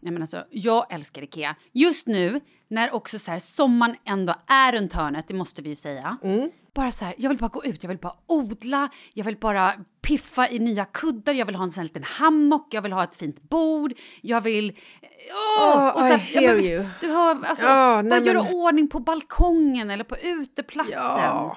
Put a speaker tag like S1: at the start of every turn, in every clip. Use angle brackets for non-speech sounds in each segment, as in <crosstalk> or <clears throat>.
S1: Nej, men alltså, jag älskar Ikea. Just nu, när också så här, sommaren ändå är runt hörnet, det måste vi ju säga.
S2: Mm.
S1: Bara så här, jag vill bara gå ut, jag vill bara odla, jag vill bara piffa i nya kuddar, jag vill ha en sån här liten hammock, jag vill ha ett fint bord, jag vill... eh, Åh!
S2: Oh, I
S1: så här,
S2: hear you.
S1: Du hör, alltså,
S2: Ja,
S1: bara
S2: nej, men-
S1: göra ordning på balkongen eller på uteplatsen.
S2: Ja,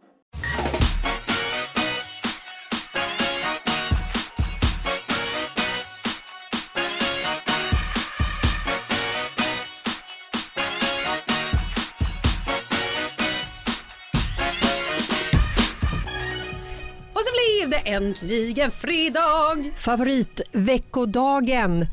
S1: Och så blev det äntligen fredag!
S2: Favoritveckodagen!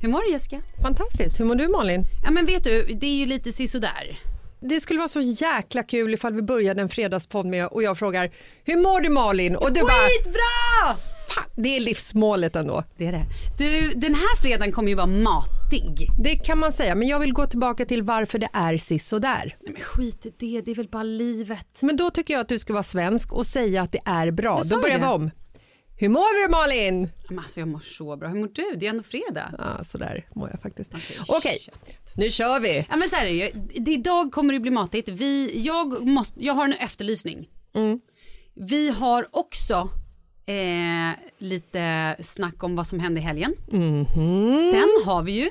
S1: Hur mår du Jessica?
S2: Fantastiskt! Hur mår du Malin?
S1: Ja men vet du, det är ju lite sisådär.
S2: Det skulle vara så jäkla kul ifall vi började en fredagspodd med och jag frågar Hur mår du Malin? Och du bara
S1: Skitbra!
S2: "Fan, det är livsmålet ändå.
S1: Det är det. Du, den här fredagen kommer ju vara matig.
S2: Det kan man säga, men jag vill gå tillbaka till varför det är sis och där.
S1: Nej men skit i det, det är väl bara livet.
S2: Men då tycker jag att du ska vara svensk och säga att det är bra.
S1: Jag sa
S2: Då
S1: ju
S2: börjar
S1: det.
S2: vi om. Hur mår du Malin?
S1: Men alltså jag mår så bra. Hur mår du? Det är ändå fredag.
S2: Ja, så där mår jag faktiskt. Okej, nu kör vi.
S1: Ja men så här är det ju. Det- Idag kommer det bli matigt. Vi, jag, måste, jag har en efterlysning. Vi har också eh, lite snack om vad som hände i helgen. Sen har vi ju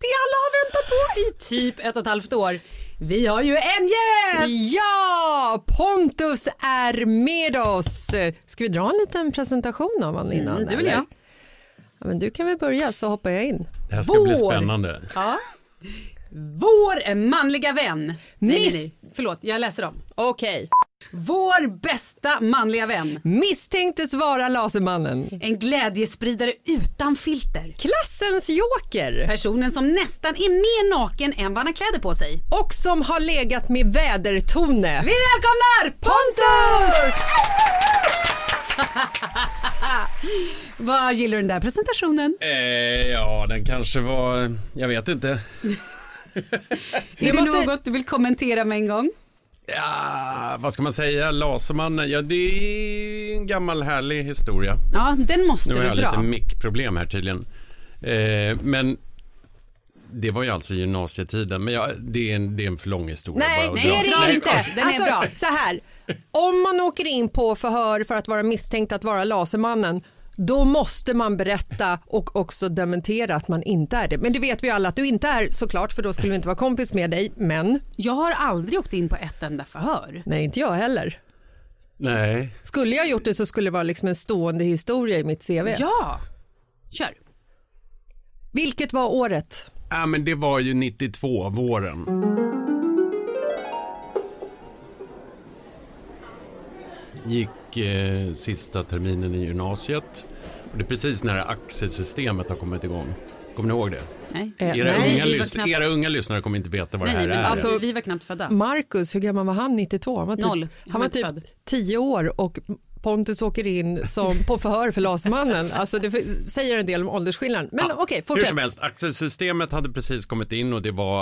S1: det alla har väntat på i typ ett och ett halvt år. Vi har ju en gäst!
S2: Ja, Pontus är med oss. Ska vi dra en liten presentation av honom innan?
S1: Du Mm, vill
S2: eller?
S1: jag.
S2: Ja, men du kan väl börja så hoppar jag in.
S3: Det här ska bli
S1: Vår.
S3: spännande.
S1: Vår manliga vän. Nej, nej,
S2: Miss-
S1: nej. Förlåt, jag läser dem.
S2: Okej.
S1: Vår bästa manliga vän.
S2: Misstänktes vara Lasermannen.
S1: En glädjespridare utan filter.
S2: Klassens joker.
S1: Personen som nästan är mer naken än vad han har kläder på sig.
S2: Och som har legat med vädertone.
S1: Vi välkomnar Pontus! Vad gillar du den där presentationen?
S3: Eh, ja, den kanske var... Jag vet inte.
S1: Är det
S2: måste-
S1: något du vill kommentera med en gång?
S3: Ja, vad ska man säga? Lasermannen? Ja, det är en gammal härlig historia.
S1: Ja, den måste
S3: Nu har
S1: du
S3: jag
S1: dra.
S3: lite mickproblem här tydligen. Eh, men det var ju alltså gymnasietiden. Men ja, det, är en, det är en för lång historia.
S2: Nej,
S3: bara att
S2: det
S3: dra.
S2: är
S1: dra
S2: det
S1: den
S2: inte.
S1: kort. Den är
S2: alltså,
S1: bra.
S2: Så här, om man åker in på förhör för att vara misstänkt att vara Lasermannen då måste man berätta och också dementera att man inte är det. Men det vet vi ju alla att du inte är såklart för då skulle vi inte vara kompis med dig. Men
S1: Jag har aldrig åkt in på ett enda förhör.
S2: nej, inte jag heller.
S3: Nej.
S2: Skulle jag gjort det så skulle det vara liksom en stående historia i mitt CV.
S1: Ja, kör.
S2: Vilket var året?
S3: Ja, men det var ju 92, våren. Gick eh, sista terminen i gymnasiet. Och det är precis när det här axelsystemet har kommit igång. Kommer ni ihåg det?
S1: Nej.
S3: Eh, Era,
S1: nej,
S3: unga,
S1: vi var
S3: lys-
S1: knappt-
S3: era unga lyssnare kommer inte veta vad
S1: Nej,
S3: det här
S1: nej, men
S3: är.
S1: alltså, vi var knappt födda.
S2: Marcus, hur gammal var han 92? Han var typ,
S1: Noll.
S2: Han
S1: Han var
S2: var typ
S1: född.
S2: 10 år och Pontus åker in som på förhör för
S3: <laughs>
S2: Lasermannen. Alltså det f- säger en del om åldersskillnaden. Men okej,
S3: Hur
S2: fortsätt.
S3: som helst, axelsystemet hade precis kommit in och det var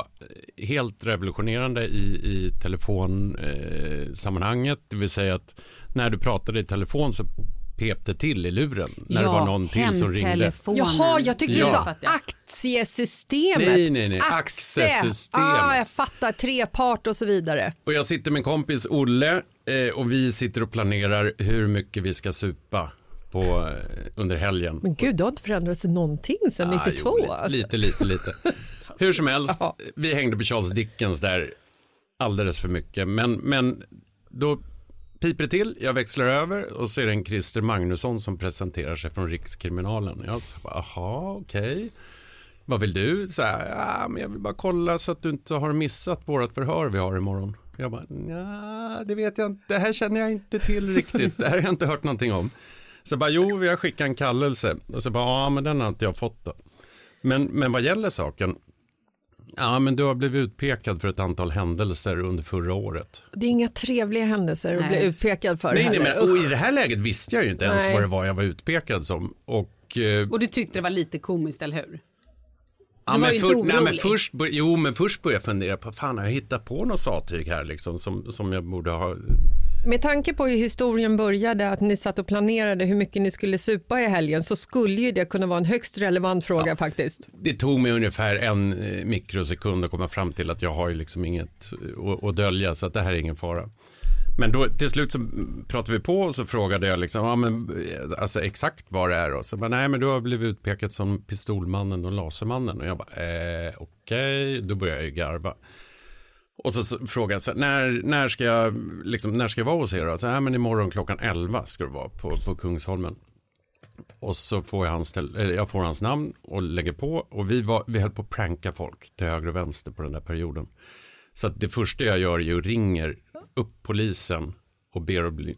S3: eh, helt revolutionerande i, i telefonsammanhanget. Eh, sammanhanget. det vill säga att när du pratade i telefon så pep det till i luren. När det var någon till som ringde.
S1: hemtelefonen.
S2: Jaha, jag tycker du
S3: Ja.
S2: sa
S1: Fattar jag.
S2: aktiesystemet.
S3: Nej, nej, nej.
S2: Axe.
S3: Axesystemet.
S2: Ah, jag fattar. Trepart och så vidare.
S3: Och jag sitter med en kompis, Olle, eh, och vi sitter och planerar hur mycket vi ska supa på, eh, under helgen.
S2: Men gud, det har inte förändrats någonting sedan
S3: Ah,
S2: 92.
S3: jo, lite,
S2: alltså.
S3: lite, lite, lite.
S2: <laughs>
S3: Hur som helst,
S2: Ja.
S3: vi hängde på Charles Dickens där alldeles för mycket. Men, men då piper det till, jag växlar över och ser en Christer Magnusson som presenterar sig från Rikskriminalen. Jag sa, aha, okej. Vad vill du? Så här, ja, men jag vill bara kolla så att du inte har missat vårt förhör vi har imorgon. Jag bara, nja, det vet jag inte. Det här känner jag inte till riktigt. Det här har jag inte hört någonting om. Så jag bara, jo, vi har skickat en kallelse. Och så bara, ja, men den har inte jag fått då. Men, men vad gäller saken, ja, men du har blivit utpekad för ett antal händelser under förra året.
S2: Det är inga trevliga händelser att bli
S1: Nej.
S2: utpekad för.
S3: Nej, nej,
S2: heller.
S3: men och i det här läget visste jag ju inte ens
S2: Nej.
S3: vad det var jag var utpekad som. Och, eh,
S1: Och du tyckte det var lite komiskt, eller hur?
S3: Ja,
S1: Du var
S3: men
S1: ju
S3: för,
S1: inte
S3: nej, men
S1: orolig.
S3: först, bör- jo, men först började jag fundera på, fan har jag hittat på något sattyg här liksom som, som jag borde ha.
S2: Med tanke på hur historien började, att ni satt och planerade hur mycket ni skulle supa i helgen, så skulle ju det kunna vara en högst relevant fråga faktiskt.
S3: Det tog mig ungefär en eh, mikrosekund att komma fram till att jag har ju liksom inget eh, att, att dölja så att det här är ingen fara. Men då till slut så pratade vi på och så frågade jag liksom, ja, men, eh, alltså, exakt vad det är och så bara, nej men du har blivit utpekad som pistolmannen och lasermannen och jag bara, eh, okej, då började jag ju garva. Och så, så frågade jag, så här, när, när, ska jag, liksom, när ska jag vara hos er? då? Så här, "Ja, men imorgon klockan 11 ska du vara på, på Kungsholmen. Och så får jag hans, tel- eh, jag får hans namn och lägger på. Och vi, var, vi höll på att pranka folk till höger och vänster på den där perioden. Så att det första jag gör är ju ringer upp polisen och ber att bli,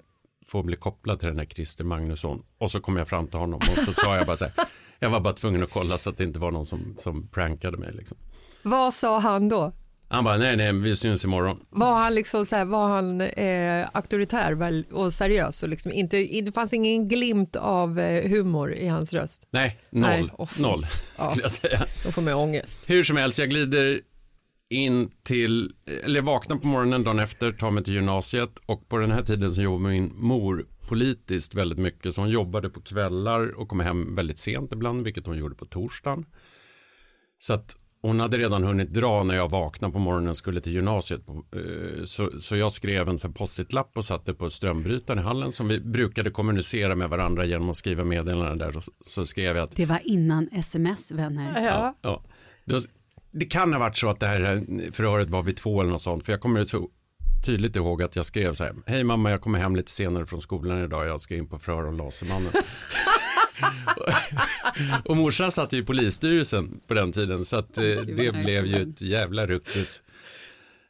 S3: få bli kopplad till den här Christer Magnusson. Och så kom jag fram till honom och så sa jag bara så här. <laughs> Jag var bara tvungen att kolla så att det inte var någon som, som prankade mig. Liksom.
S2: Vad sa han då?
S3: Han bara, nej, nej, vi syns imorgon.
S2: Var han, liksom så här, var han eh, auktoritär väl- och seriös? Och liksom inte, det fanns ingen glimt av eh, humor i hans röst.
S3: Nej, noll.
S2: Nej, åh, fy.
S3: noll, <laughs> skulle jag säga.
S2: Då får man ju ångest.
S3: Hur som helst, jag glider in till, eller vaknar på morgonen dagen efter, tar mig till gymnasiet och på den här tiden så jobbade min mor politiskt väldigt mycket. Så hon jobbade på kvällar och kom hem väldigt sent ibland, vilket hon gjorde på torsdagen. Så att hon hade redan hunnit dra när jag vaknade på morgonen och skulle till gymnasiet. på- eh, Så, så jag skrev en sån här post-it-lapp och satte på strömbrytaren i hallen som vi brukade kommunicera med varandra genom att skriva meddelanden där. Och så- Så skrev jag att
S1: Det var innan sms, vänner.
S3: Ja. ja. Då- Det kan ha varit så att det här förhöret var vid två eller något sånt. För jag kommer så tydligt ihåg att jag skrev så här. Hej mamma, jag kommer hem lite senare från skolan idag. Jag ska in på förhör om
S4: <laughs>
S3: Lasermannen. Och- och morsan satt ju i polisstyrelsen på den tiden. Så att eh, det blev ju ett jävla ruckus.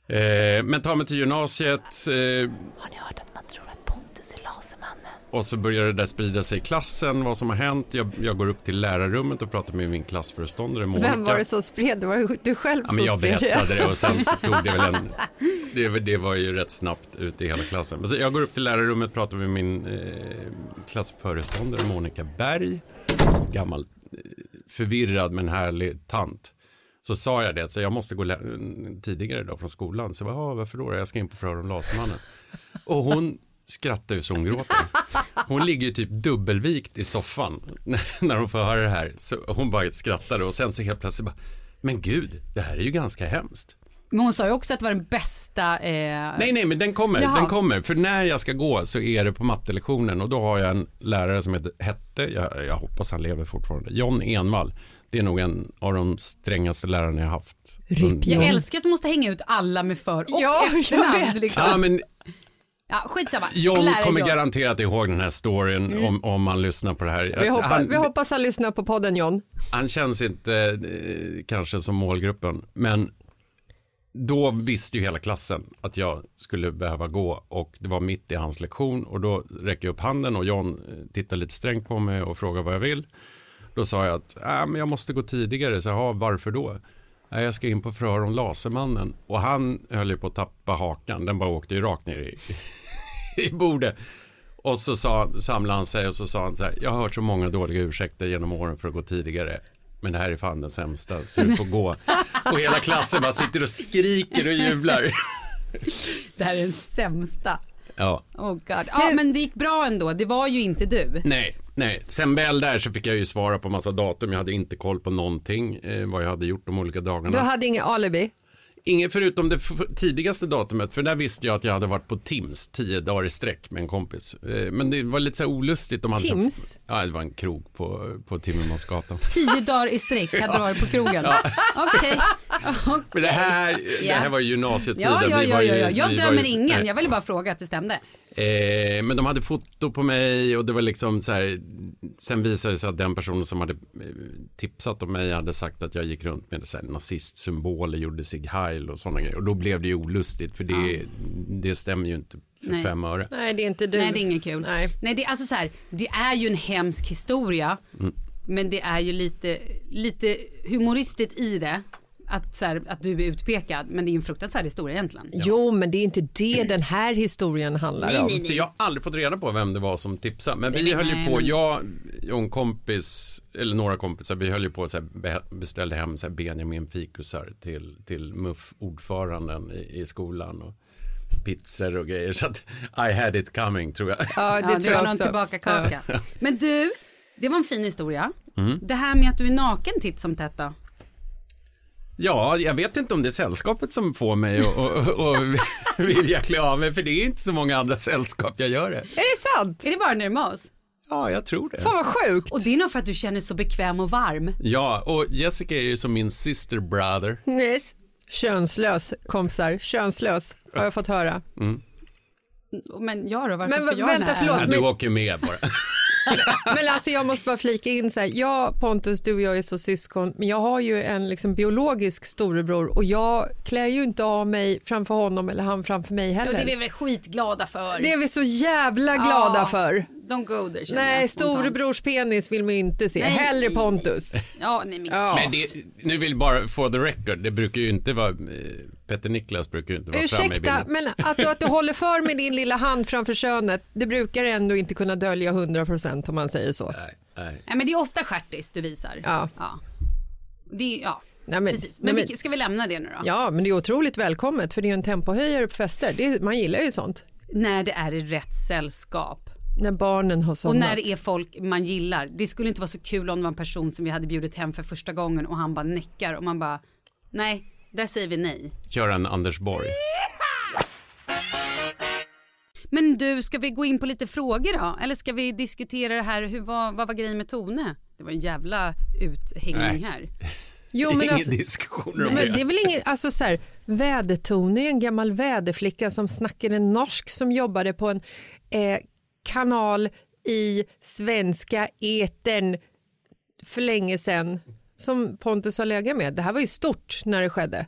S3: Eh, men ta mig till gymnasiet. Eh,
S5: Har ni hört att man tror att Pontus är Lasermannen?
S3: Och så börjar det där sprida sig i klassen, vad som har hänt. Jag, jag går upp till lärarrummet och pratar med min klassföreståndare Monica.
S4: Vem var det som spred? Det var du själv
S3: Ja,
S4: som
S3: men jag
S4: spred
S3: berättade det och sen så tog det väl <laughs> en... Det, var- det var ju rätt snabbt ut i hela klassen. Men så jag går upp till lärarrummet och pratar med min eh, klassföreståndare Monica Berg. Gammal, eh, förvirrad men härlig tant. Så sa jag det, så jag måste gå lä- tidigare idag från skolan. Så jag bara, "Ah, varför då? Jag ska in på förhör om Lasermannen. Och hon skrattar ju så hon gråter. Hon ligger ju typ dubbelvikt i soffan <laughs> när- när hon får höra det här. Så hon bara skrattade och sen så helt plötsligt bara, men gud, det här är ju ganska hemskt.
S1: Men hon sa ju också att det var den bästa... Eh...
S3: Nej, nej, men den kommer,
S1: Jaha.
S3: den kommer. För när jag ska gå så är det på mattelektionen och då har jag en lärare som heter, hette, jag, jag hoppas han lever fortfarande, John Envall. Det är nog en av de strängaste lärarna jag har haft.
S2: Rip,
S1: Jag
S2: John.
S1: älskar att du måste hänga ut alla med för och
S2: Ja, jag
S1: efternamn.
S2: vet.
S1: Liksom.
S3: Ja, men
S1: Ja, skitsamma.
S3: John
S1: Lärare
S3: kommer
S1: John.
S3: garanterat ihåg den här storyn om, om han lyssnar på det här.
S2: <laughs> Vi, hoppa,
S3: han,
S2: vi hoppas han lyssnar på podden John.
S3: han känns inte eh, kanske som målgruppen, men då visste ju hela klassen att jag skulle behöva gå och det var mitt i hans lektion och då räcker jag upp handen och John eh, tittar lite strängt på mig och frågar vad jag vill. Då sa jag att äh, men jag måste gå tidigare, så "Jaha, varför då? "Nej, jag ska in på förhör om Lasermannen och han höll ju på att tappa hakan, den bara åkte ju rakt ner i, <laughs> i bordet. Och så sa, samlade han sig och så sa han så här, jag har hört så många dåliga ursäkter genom åren för att gå tidigare. Men det här är fan den sämsta, så du
S2: <laughs>
S3: får gå. Och hela klassen bara sitter och skriker och jublar.
S1: Det här är den sämsta.
S3: Ja,
S1: Oh God. Ja, men det gick bra ändå. Det var ju inte du.
S3: nej, nej. Sen väl där så fick jag ju svara på massa datum. Jag hade inte koll på någonting, eh, vad jag hade gjort de olika dagarna.
S2: Du hade inga alibi.
S3: Inget förutom det f- tidigaste datumet, för där visste jag att jag hade varit på Tims tio dagar i sträck med en kompis. Eh, Men det var lite så här olustigt. Om man
S2: Tims?
S3: ja, det var en krog på, på Timmermansgatan.
S1: Tio dagar i
S3: <laughs>
S1: sträck hade du varit på krogen. Okej.
S3: Men det här, det här var ju gymnasiets
S1: Ja,
S3: sida.
S1: ja,
S3: Vi
S1: ja,
S3: var ju-
S1: ja, ja. Jag
S3: vi var
S1: dömer
S3: ju-
S1: ingen.
S3: nej.
S1: Jag ville bara fråga att det stämde.
S3: Eh, men de hade foto på mig och det var liksom så här. Sen visade det sig att den personen som hade eh, tipsat om mig hade sagt att jag gick runt med så här nazistsymboler, gjorde sig heil och sådana grejer. Och då blev det ju olustigt för det, det stämmer ju inte för
S1: Nej.
S3: fem öre.
S2: Nej det är inte du.
S1: Nej, det är inget kul.
S2: Nej.
S1: Nej, det är alltså så här. Det är ju en hemsk historia. Men det är ju lite, lite humoristiskt i det. Att, så här, att du är utpekad. Men det är ju en fruktansvärd historia egentligen.
S2: Jo men det är inte det den här historien handlar om.
S3: Så jag har aldrig fått reda på vem det var som tipsade. Men vi höll ju på, jag och en kompis, eller några kompisar, vi höll ju på så här, be- beställde hem så här Benjamin Fikusar till, till MUF-ordföranden i, i skolan. Och, pizzor och grejer så att I had it coming tror jag.
S2: Ja, det
S1: Ja,
S2: tror jag
S1: någon
S2: också.
S1: tillbaka kaka. Men du, det var en fin historia. Det här med att du är naken titt som tätt då?
S3: <laughs> Ja, jag vet inte om det är sällskapet som får mig att och, och, <laughs> och vilja klä av mig för det är inte så många andra sällskap jag gör det.
S2: Är det sant?
S1: Är det bara när du är med oss?
S3: Ja, jag tror det.
S2: Fan vad sjukt.
S1: Och det är nog för att du känner dig så bekväm och varm.
S3: Ja, och Jessica är ju som min sister brother.
S2: Yes. Könslös kompisar, könslös har jag fått höra.
S1: Men jag då, varför
S2: Men
S1: får jag
S2: vänta,
S1: den här?
S2: förlåt.
S3: Ja, du åker med bara.
S2: Men alltså jag måste bara flika in så här, jag Pontus, du och jag är så syskon, men jag har ju en liksom biologisk storebror och jag klär ju inte av mig framför honom eller han framför mig
S1: Jo,
S2: heller.
S1: det är vi väl skitglada för.
S2: Det är vi så jävla glada
S1: Ja.
S2: för.
S1: Don't go there känner
S2: Nej,
S1: jag spontant.
S2: storebrors penis vill man ju inte se.
S1: Nej.
S2: Hellre Pontus.
S1: Ja, nej men
S2: Ja.
S3: Men det, nu vill bara for the record, det brukar ju inte vara, eh, Petter Niklas brukar ju inte vara framme i
S2: Ursäkta,
S3: bilden.
S2: men alltså att du håller för med din lilla hand framför könet, det brukar ändå inte kunna dölja 100% om man säger så.
S3: Nej, nej.
S1: Nej, men det är ofta stjärtis du visar.
S2: Ja.
S1: Det är, ja.
S2: Nej, men-
S1: Precis.
S2: nej,
S1: Men,
S2: men-
S1: vilket- ska vi lämna det nu då?
S2: Ja, men det är otroligt välkommet för det är ju en tempohöjare på fester. Det är, man gillar ju sånt.
S1: När det är i rätt sällskap.
S2: När barnen har
S1: Och
S2: somnat.
S1: när det är folk man gillar. Det skulle inte vara så kul om det var en person som vi hade bjudit hem för första gången och han bara näckar och man bara nej, där säger vi nej.
S3: Kör en Anders Borg.
S1: Men du, ska vi gå in på lite frågor då? Eller ska vi diskutera det här, hur, vad, vad var grejen med Tone? Det var en jävla uthängning
S3: Nej.
S1: här.
S2: jo,
S3: Det är
S2: men
S3: ingen
S2: alltså,
S3: diskussion om
S2: men det
S3: det.
S2: är väl ingen, alltså så här, vädertone är en gammal väderflicka som snackade norsk som jobbade på en eh, kanal i svenska etern för länge sedan som Pontus har legat med. Det här var ju stort när det skedde.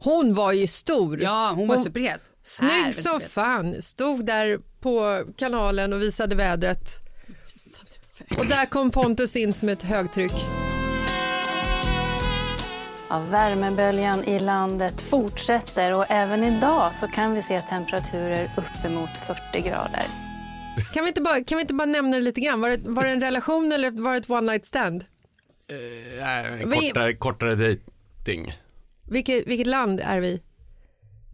S2: Hon var ju stor.
S1: Ja, hon var superhet.
S2: Snygg
S1: Är
S2: som
S1: superhet.
S2: fan. Stod där på kanalen och visade vädret. Och där kom Pontus in som ett högtryck.
S5: Ja, värmeböljan i landet fortsätter och även idag så kan vi se temperaturer uppemot 40 grader.
S2: Kan vi inte bara, kan vi inte bara nämna det lite grann? Var det, var det en relation eller var det ett one night stand?
S3: Eh, Nej,
S2: Vi-
S3: kortare, kortare dejting.
S2: Vilket, vilket land är vi?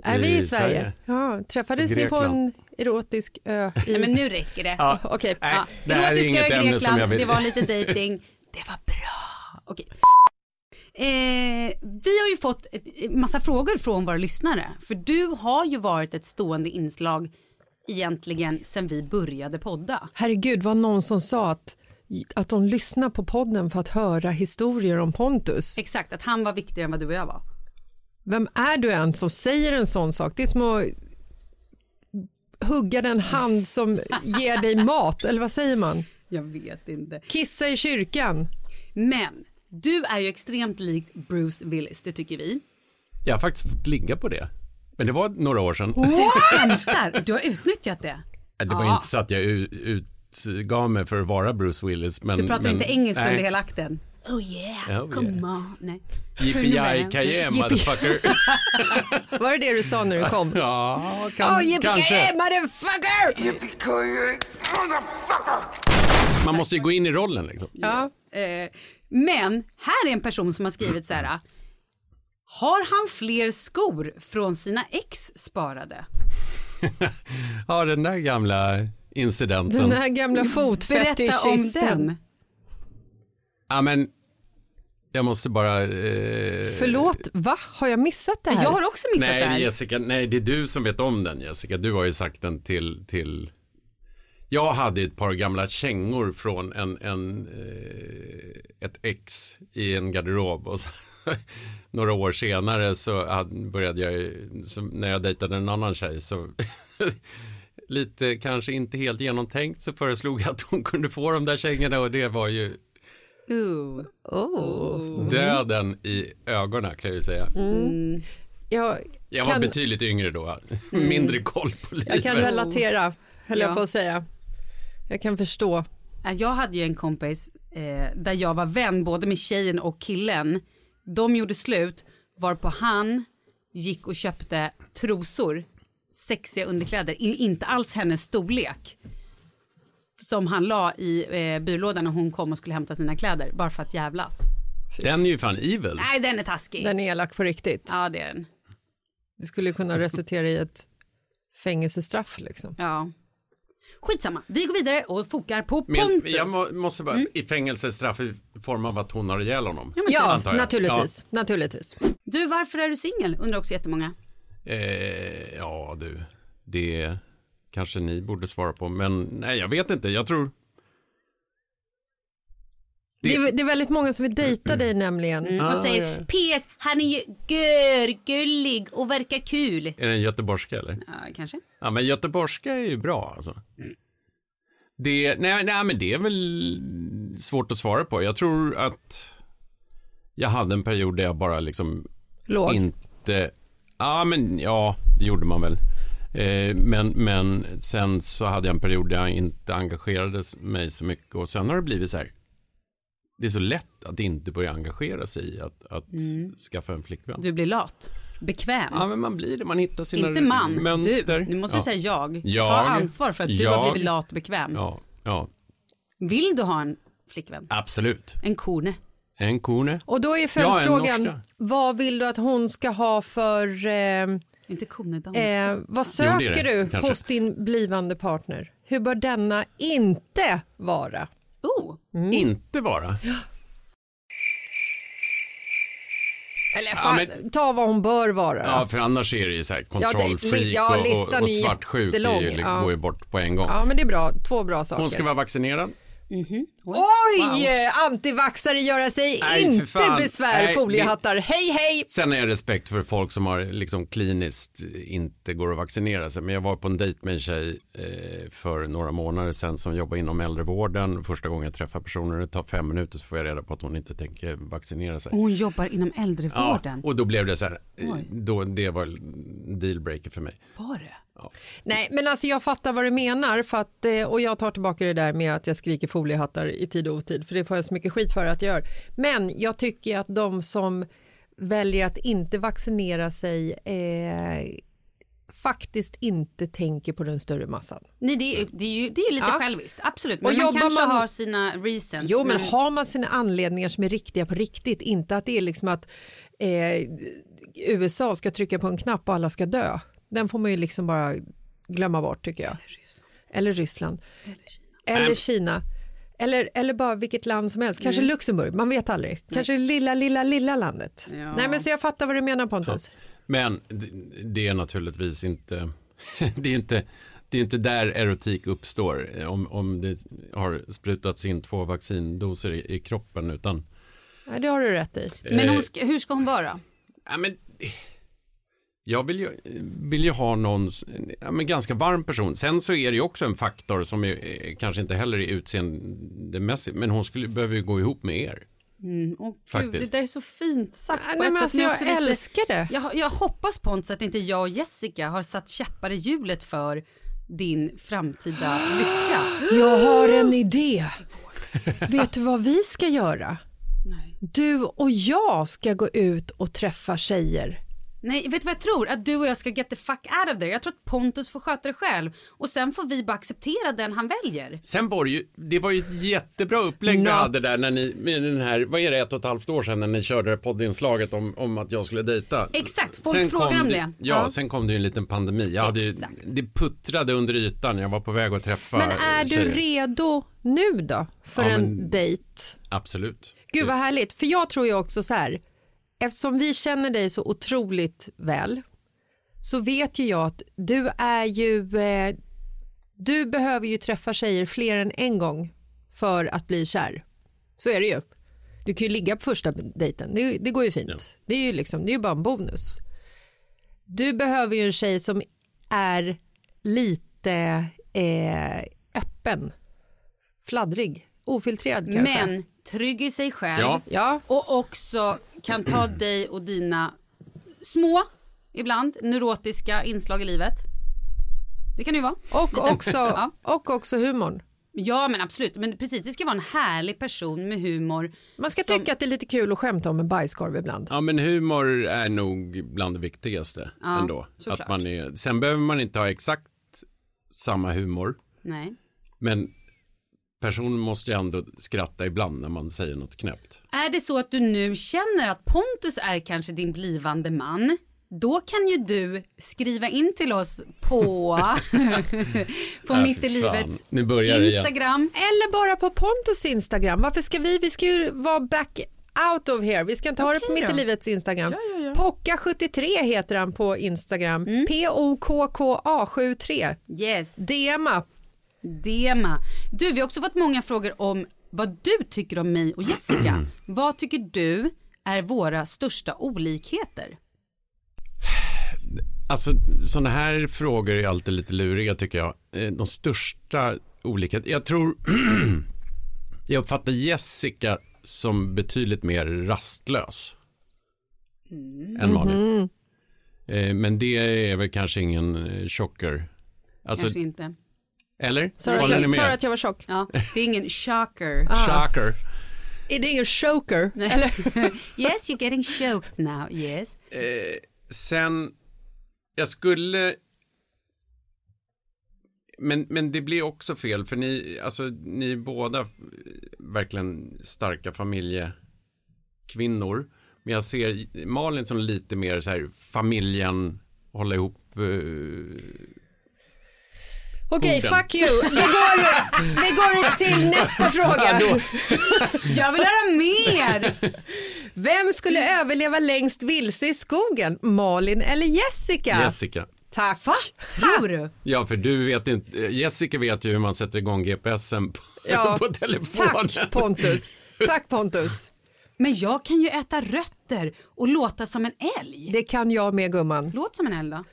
S2: Är
S3: I
S2: vi i Sverige?
S3: Sverige.
S2: Ja, träffades ni på en
S3: Grekland.
S2: erotisk ö? I...
S1: Nej, men nu räcker det.
S3: Ja.
S2: Okej,
S3: Nej,
S1: Ja.
S3: det här är
S1: Erotiska
S3: inget ämne som
S1: Grekland,
S3: jag vill...
S1: det var lite
S3: <laughs>
S1: dating. Det var bra. Okej. Eh, vi har ju fått ett- massa frågor från våra lyssnare. För du har ju varit ett stående inslag egentligen sen vi började podda.
S2: herregud var någon som sa att, att de lyssnar på podden för att höra historier om Pontus.
S1: Exakt, att han var viktigare än vad du och jag var.
S2: Vem är du ens som säger en sån sak? Det är som att hugga den hand som ger dig mat, eller vad säger man?
S1: Jag vet inte.
S2: Kissa i kyrkan.
S1: Men du är ju extremt lik Bruce Willis, det tycker vi.
S3: Jag har faktiskt fått ligga på det. Men det var några år sedan.
S1: Skämtar, du har utnyttjat det.
S3: Det var
S2: Ah.
S3: inte så att jag u- utgav mig för att vara Bruce Willis. Men,
S1: Du pratar
S3: men,
S1: inte engelska
S3: nej.
S1: under hela akten. Oh yeah,
S3: Oh
S1: come
S3: yeah.
S1: on. Nej.
S3: Yippee-yi, kajem, motherfucker.
S1: <laughs>
S3: <laughs>
S2: Var det det du sa när du kom?
S3: ja, kan,
S2: Åh,
S3: kanske.
S2: Ah, Yippee-ki-yay, motherfucker!
S3: Man måste ju gå in i rollen liksom.
S2: Ja.
S1: Eh, men här är en person som har skrivit så här. Har han fler skor från sina ex sparade?
S3: Ja, den där gamla incidenten.
S2: Den här gamla
S1: Berätta om
S2: fotfetischisten.
S1: den.
S3: Ja, men jag måste bara... Eh...
S2: Förlåt, va? Har jag missat det här?
S1: Jag har också missat det
S3: Nej,
S1: här.
S3: Jessica, nej, det är du som vet om den, Jessica. Du har ju sagt den till... till... Jag hade ett par gamla kängor från en, en, eh, ett ex i en garderob. Och så, <laughs> några år senare så hade- började jag, ju- så, när jag dejtade en annan tjej, så <laughs> lite kanske inte helt genomtänkt så föreslog jag att hon kunde få de där kängorna och det var ju
S1: Ooh. Oh. Mm.
S3: döden i ögonen kan jag ju säga.
S2: Jag,
S3: Jag var
S2: Kan- Mm.
S3: betydligt yngre då, <laughs> mindre koll på livet.
S2: jag kan relatera, höll
S1: Ja.
S2: jag på att säga. Jag kan förstå.
S1: Ja, Eh, Jag hade ju en kompis eh, där jag var vän både med tjejen och killen. De gjorde slut varpå han gick och köpte trosor, sexiga underkläder, i, inte alls hennes storlek. Som han la i eh, byrålådan när hon kom och skulle hämta sina kläder bara för att jävlas.
S3: Den är ju fan evil.
S1: Nej den är taskig.
S2: Den är elak på riktigt.
S1: Ja det är den.
S2: Det skulle kunna resultera i ett fängelsestraff. Liksom.
S1: Ja. Skitsamma, vi går vidare och fokar på
S3: Men
S1: Pontus.
S3: jag må, måste bara, i fängelsestraff i form av att hon har ihjäl honom.
S2: Mm. Ja,
S3: antar jag.
S2: naturligtvis. naturligtvis.
S1: Du varför är du singel? Undrar också jättemånga.
S3: Ja, eh, ja du, det kanske ni borde svara på, men nej jag vet inte, jag tror,
S2: Det, är, det är väldigt många som vill dejta dig nämligen.
S3: Ah,
S1: Och säger PS, han är ju görgullig och verkar kul.
S3: är den göteborgska eller?
S1: Ja, kanske.
S3: Ja men göteborgska är ju bra alltså. Det, nej, nej men det är väl svårt att svara på. Jag tror att jag hade en period där jag bara liksom
S2: Låg.
S3: Inte... Ja, men ja, det gjorde man väl. Eh, Men, men sen så hade jag en period där jag inte engagerade mig så mycket och sen har det blivit så här. Det är så lätt att inte börja engagera sig i att, att skaffa en flickvän.
S1: Du blir lat. Bekväm.
S3: Ja, men man blir det. Man hittar sina
S1: Inte man,
S3: mönster.
S1: du. Nu måste du
S3: ja.
S1: säga jag.
S3: Jag.
S1: Ta ansvar för att du har
S3: Jag.
S1: blivit lat och bekväm.
S3: Ja, ja,
S1: Vill du ha en flickvän?
S3: absolut.
S1: En kone?
S3: En kone.
S2: Och då är
S3: en
S2: följdfrågan,
S3: norska.
S2: vad vill du att hon ska ha för... Eh,
S1: Inte konedansk.
S2: eh, vad
S3: Mm. det är det,
S2: söker du
S3: kanske.
S2: hos din blivande partner? Hur bör denna inte vara?
S1: Oh,
S3: Inte vara.
S2: Eller
S3: Ja,
S2: fan,
S3: men-
S2: ta vad hon bör vara. då.
S3: Ja, för annars är det ju så här kontrollfreak
S2: li- ja,
S3: och,
S2: listan
S3: och, och
S2: är
S3: svartsjuk. Det är ju,
S2: jättelång, ja.
S3: går ju bort på en gång.
S2: Ja, men det är bra. Två bra saker.
S3: Hon ska vara vaccinerad.
S2: Oj! Antivaxare göra sig
S3: Nej, för
S2: inte
S3: fan.
S2: besvär,
S3: Nej,
S2: foliehattar. Hej, hej!
S3: Sen har jag respekt för folk som har liksom kliniskt inte går att vaccinera sig. Men jag var på en dejt med en tjej eh, för några månader sedan som jobbar inom äldrevården. Första gången jag träffar personer, det tar fem minuter så får jag reda på att hon inte tänker vaccinera sig.
S1: Och hon jobbar inom
S3: Ja,
S1: äldrevården.
S3: och då blev det så här, eh,
S1: Oj.
S3: då, det var dealbreaker för mig.
S1: Var det?
S2: Nej, men alltså jag fattar vad du menar för att, eh, och jag tar tillbaka det där med att jag skriker foliehattar i tid och otid för det får jag så mycket skit för att jag gör. Men jag tycker att de som väljer att inte vaccinera sig eh, faktiskt inte tänker på den större massan.
S1: Nej, det är, det är ju det är lite
S2: Ja.
S1: själviskt, absolut. Men
S2: Och
S1: man
S2: jobbar
S1: kanske
S2: man-
S1: har sina reasons.
S2: Jo, Alltså, men har man sina anledningar som är riktiga på riktigt, inte att det är liksom att eh, USA ska trycka på en knapp och alla ska dö. Den får man ju liksom bara glömma bort tycker jag. Eller Ryssland. Eller Kina. Eller, eller bara vilket land som helst, kanske Luxemburg, man vet aldrig. Kanske det lilla, lilla, lilla landet. Nej, men så jag fattar vad du menar Pontus.
S3: Men det- det är naturligtvis inte, <laughs> det är inte, det är inte där erotik uppstår. Eh, Om, om det har sprutats in två vaccindoser i, i kroppen utan
S2: Nej, det har du rätt i.
S1: men
S3: Eh.
S1: hon ska, hur ska hon vara?
S3: Ja, men, jag vill ju, vill ju ha någon ja, men ganska varm person. Sen så är det ju också en faktor som är, eh, kanske inte heller är utseendemässig. Men hon skulle, behöver ju gå ihop med er.
S1: Åh, Gud,
S3: Faktiskt.
S1: det där är så fint sagt på
S2: Nej,
S1: ett
S2: men
S1: sätt,
S2: alltså,
S1: men
S2: jag
S1: också lite-
S2: älskar det.
S1: Jag, jag hoppas Pontus att inte jag och Jessica har satt käppar i hjulet för din framtida lycka.
S2: Jag har en idé. Vet du vad vi ska göra? Du och jag ska gå ut och träffa tjejer.
S1: Nej, vet du vad jag tror? Att du och jag ska get the fuck out of there. Jag tror att Pontus får sköta det själv och sen får vi bara acceptera den han väljer.
S3: Sen var det ju, det var ju ett jättebra upplägg du hade där när ni, med den här, vad är det, ett och ett halvt år sedan när ni körde det poddinslaget om, om att jag skulle dejta.
S1: Exakt, folk frågar
S3: kom
S1: om
S3: det.
S1: det.
S3: Ja,
S1: Ja.
S3: sen kom det ju en liten pandemi. Jag hade, ju-
S1: Exakt.
S3: det puttrade under ytan, jag var på väg att träffa
S2: Men är du
S3: tjejer.
S2: redo nu då för
S3: Ja,
S2: en
S3: men-
S2: dejt?
S3: Absolut.
S2: Gud vad härligt, för jag tror ju också så här, eftersom vi känner dig så otroligt väl så vet ju jag att du är ju, eh, du behöver ju träffa tjejer fler än en gång för att bli kär. Så är det ju. Du kan ju ligga på första dejten, det, det går ju fint. Det är ju liksom, det är ju bara en bonus. Du behöver ju en tjej som är lite eh, öppen, fladdrig, ofiltrerad kanske.
S1: Men trygg i sig själv.
S3: Ja.
S2: Ja,
S1: Och också kan
S2: <clears throat>
S1: ta dig och dina små, ibland, neurotiska inslag i livet. Det kan det ju vara.
S2: Och också,
S1: Ja.
S2: och också humorn.
S1: Ja men absolut, men precis det ska vara en härlig person med humor.
S2: Man ska
S1: som-
S2: tycka att det är lite kul att skämta om en bajskorv ibland.
S3: Ja men humor är nog bland det viktigaste ändå.
S1: såklart.
S3: Att man är, sen behöver man inte ha exakt samma humor.
S1: Nej.
S3: Men personen måste ju ändå skratta ibland när man säger något knäppt.
S1: Är det så att du nu känner att Pontus är kanske din blivande man, då kan ju du skriva in till oss på,
S3: <laughs>
S1: på
S3: Äh,
S1: Mitt i
S3: fy
S1: livet
S3: fan. Nu börjar det igen.
S1: Instagram.
S2: Eller bara på Pontus Instagram. Varför ska vi? Vi ska ju vara back out of here. Vi ska inte ha det på Mitt i livets Instagram. Pocka73 heter han på Instagram.
S1: Mm.
S2: P-O-K-K-A-73.
S1: Yes,
S2: DMa.
S1: Dema. Du, vi har också fått många frågor om vad du tycker om mig och
S3: <clears throat>
S1: Jessica. vad tycker du är våra största olikheter?
S3: Alltså sådana här frågor är alltid lite luriga tycker jag. Eh, De största olikheterna, jag tror, <clears throat> jag uppfattar Jessica som betydligt mer rastlös
S1: Mm.
S3: än Malin.
S2: Mhm.
S3: Eh, Men det är väl kanske ingen eh, chocker. Alltså,
S1: Kanske inte.
S3: eller?
S2: Sa du att
S3: Håller ni
S2: jag-
S3: med?
S2: sa du att Ah. jag var tjock?
S1: Ja, det är ingen shocker.
S3: Shocker.
S2: Är det ingen choker?
S1: <laughs> Yes, you're getting choked now. Yes.
S3: Sen, jag skulle... Men, men det blir också fel, för ni, alltså, ni är båda eh, verkligen starka familjekvinnor. Men jag ser Malin som lite mer så här familjen, hålla ihop. eh,
S2: Okej, fuck you. Vi går, vi går
S1: <laughs>
S2: till nästa fråga.
S1: Jag vill höra mer! <laughs>
S2: Vem skulle överleva längst vilse i skogen? Malin eller Jessica?
S3: Jessica.
S2: Tack.
S1: Tror du?
S3: Ja, för du vet inte. Jessica vet ju hur man sätter igång GPSen på,
S2: Ja.
S3: <laughs> på telefonen.
S2: Tack Pontus. Tack Pontus.
S1: Men jag kan ju äta rötter och låta som en älg.
S2: Det kan jag med gumman.
S1: Låt som en älg då.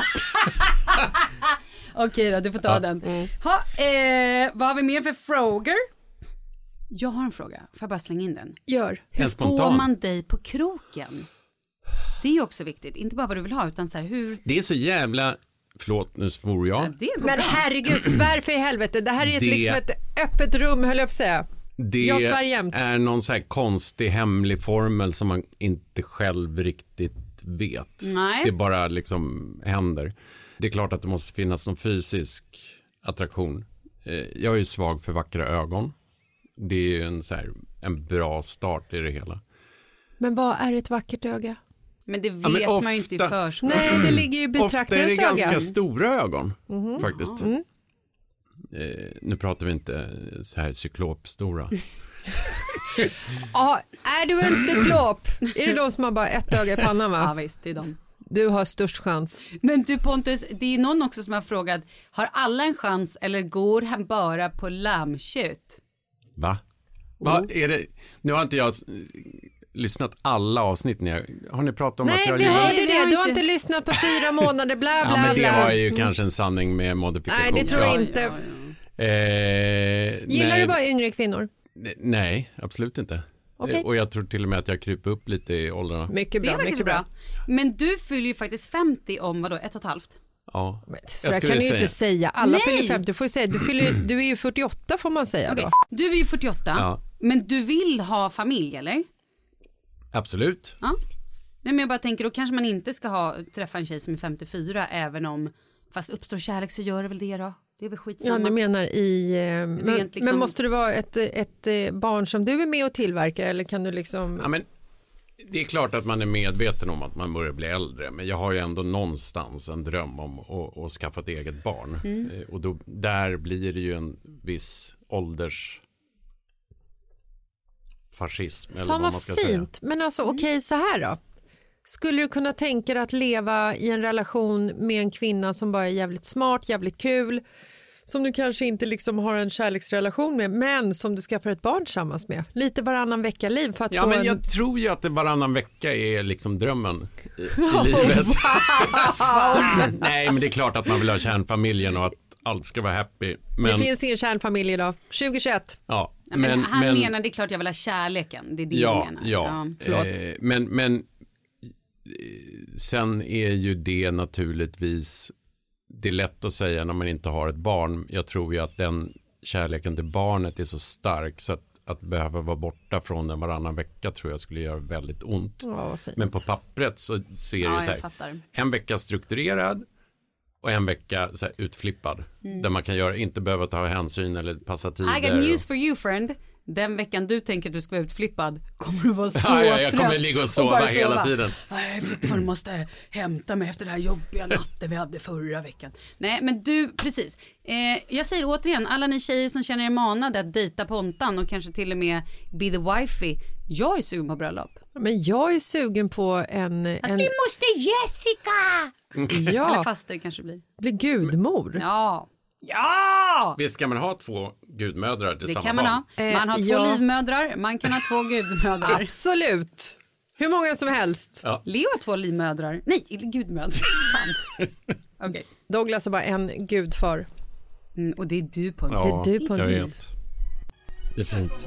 S1: <laughs> Okej då, du får ta den.
S3: Mm.
S1: Ha, eh, vad har vi mer för frågor? Jag har en fråga, får jag bara slänga in den?
S4: Gör.
S1: Hur
S3: En spontan.
S1: får man dig på kroken? Det är ju också viktigt, inte bara vad du vill ha utan så här hur...
S3: Det är så jävla, förlåt nu svor jag.
S1: Ja, det går
S2: Men
S1: bra.
S2: herregud, svär för i helvete. Det här är ett,
S3: Det-
S2: liksom ett öppet rum höll jag på att säga.
S3: Det
S2: Jag svär jämt.
S3: är någon så här konstig hemlig formel som man inte själv riktigt vet.
S1: Nej.
S3: Det bara liksom händer. Det är klart att det måste finnas någon fysisk attraktion. Eh, Jag är ju svag för vackra ögon. Det är ju en, så här, en bra start i det hela.
S2: Men vad är ett vackert öga?
S1: Men det vet
S3: men
S1: man ju inte i
S3: ofta-
S1: förskolan.
S2: Nej, det ligger ju i
S3: Mm. Ofta är det
S2: betraktarens
S3: ganska
S2: öga.
S3: stora ögon
S2: Mhm.
S3: faktiskt.
S2: Mm.
S3: Eh, nu pratar vi inte så här cyklopstora.
S2: Ja, är du en cyklop? är det de som har bara ett öga i pannan
S1: Ja
S2: va?
S1: visst, det är de.
S2: Du har störst chans.
S1: Men du Pontus, det är någon också som har frågat, har alla en chans eller går han bara på lammkött?
S3: Va? Va
S2: Oh.
S3: är det? Nu har inte jag s- lyssnat alla avsnitt. Ni har, har ni pratat om att
S2: Nej,
S3: jag
S2: vi
S3: gillar-
S2: hörde
S1: vi
S2: det.
S1: har
S2: Du har
S1: inte-
S2: inte lyssnat på fyra månader, bla
S3: Ja,
S2: bla
S3: men det var
S2: bla.
S3: ju kanske en sanning med
S2: Nej,
S3: modifikation.
S2: det tror jag
S3: Ja.
S2: inte.
S3: Eh,
S2: Gillar
S3: nej,
S2: du bara yngre kvinnor?
S3: ne- Nej, absolut inte.
S2: Okej.
S3: Eh, Och jag tror till och med att jag kryper upp lite i åldrarna.
S2: Mycket
S1: Det
S2: bra,
S1: var
S2: mycket
S1: mycket
S2: bra.
S1: bra. Men du fyller ju faktiskt 50 om vadå, ett och ett halvt?
S3: Ja.
S2: Så jag
S3: skulle
S2: kan du ju
S3: säga-
S2: inte säga. Alla
S1: Nej.
S2: fyller 50. Du, får ju säga. Du, fyller, du är ju 48 får man säga
S1: Okej,
S2: då.
S1: Du är ju 48,
S3: Ja.
S1: men du vill ha familj eller?
S3: Absolut.
S1: Ja. Nej men jag bara tänker, då kanske man inte ska ha, träffa en tjej som är 54 även om, fast uppstår kärlek så gör det väl det då? Det är väl
S2: Ja,
S1: skitsamma.
S2: du menar i... eh, Men,
S1: liksom-
S2: men måste det vara ett, eh, ett eh, barn som du är med och tillverkar eller kan du liksom...
S3: Ja, men, det är klart att man är medveten om att man börjar bli äldre. Men jag har ju ändå någonstans en dröm om att, att skaffa ett eget barn. Eh, Och då, där blir det ju en viss ålders fascism eller
S2: Fan
S3: vad
S2: vad
S3: man ska
S2: fint.
S3: säga.
S2: Men alltså okej, så här då. Skulle du kunna tänka dig att leva i en relation med en kvinna som bara är jävligt smart, jävligt kul, som du kanske inte liksom har en kärleksrelation med, men som du skaffar ett barn tillsammans med? Lite varannan vecka-liv för att
S3: Ja,
S2: få
S3: men
S2: en...
S3: jag tror ju att det varannan vecka är liksom drömmen i, i livet. <laughs> Nej, men det är klart att man vill ha kärnfamiljen och att allt ska vara happy. Men,
S2: Det finns ingen kärnfamilj idag, 2021.
S3: ja,
S1: Nej, men, han menar det är klart jag vill ha kärleken, det är det
S3: Ja,
S1: jag menar.
S3: ja. Eh, men, men eh, sen är ju det naturligtvis, det är lätt att säga när man inte har ett barn. Jag tror ju att den kärleken till barnet är så stark så att, att behöva vara borta från den varannan vecka tror jag skulle göra väldigt ont.
S2: Ja, vad fint.
S3: Men på pappret så ser det
S1: Ja,
S3: ju så
S1: jag
S3: här,
S1: fattar.
S3: en vecka strukturerad och en vecka så här utflippad. Där man kan göra, inte behöva ta hänsyn eller passa tider.
S1: Mm. I got
S3: och-
S1: news for you friend. Den veckan du tänker att du ska vara utflippad kommer du vara så
S3: Ja, ja, jag
S1: trött
S3: kommer ligga och sova
S1: bara
S3: hela tiden.
S1: "Nej, Jag fortfarande måste hämta mig efter den här
S3: <laughs>
S1: jobbiga natten vi hade förra veckan. Nej men du, precis. Eh, jag säger återigen, alla ni tjejer som känner er manade att dejta Pontan och kanske till och med be the wifey. Jag är sugen på bröllop.
S2: Men jag är sugen på en... en
S1: måste Jessica! Eller
S2: <laughs> ja,
S1: faster kanske det blir.
S2: bli gudmor.
S1: Ja. Ja!
S3: Visst ska man ha två gudmödrar till
S1: Det
S3: samma
S1: kan man
S3: barn?
S1: ha. Man har
S2: Eh,
S1: två
S2: ja.
S1: livmödrar, man kan ha två <laughs> gudmödrar.
S2: Absolut. Hur många som helst.
S1: Leo har två livmödrar. Nej,
S2: <laughs>
S1: gudmödrar. Fan. Okej.
S2: Douglas är bara en gudfar.
S1: Mm, och det är du på en
S3: Ja,
S2: Det är du, Pontus.
S3: jag vet. Det är fint.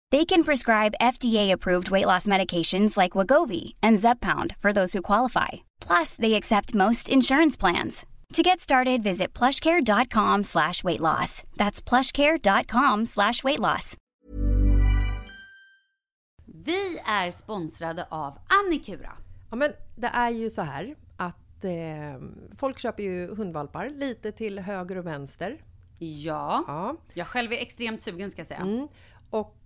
S6: They can prescribe FDA-approved weight loss medications like Wagovi and Zepbound for those who qualify. Plus, they accept most insurance plans. To get started, visit plushcare.com slash weight loss. That's plushcare.com slash weight loss.
S1: Vi är sponsrade av Annikura.
S2: Ja, men det är ju så här att eh, folk köper ju hundvalpar lite till höger och vänster.
S1: Ja. Jag själv är extremt sugen ska jag säga.
S2: Mm. Och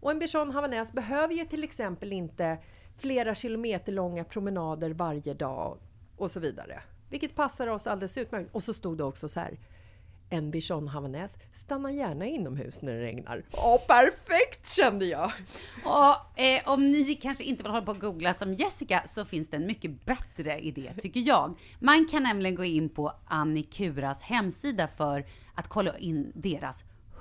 S2: Och en bichon havanäs behöver ju till exempel inte flera kilometer långa promenader varje dag och så vidare. Vilket passar oss alldeles utmärkt. Och så stod det också så här. En bichon havanäs stannar gärna inomhus när det regnar. Ja, perfekt kände jag!
S1: Och eh, om ni kanske inte vill hålla på och googla som Jessica så finns det en mycket bättre idé tycker jag. Man kan nämligen gå in på Annikuras hemsida för att kolla in deras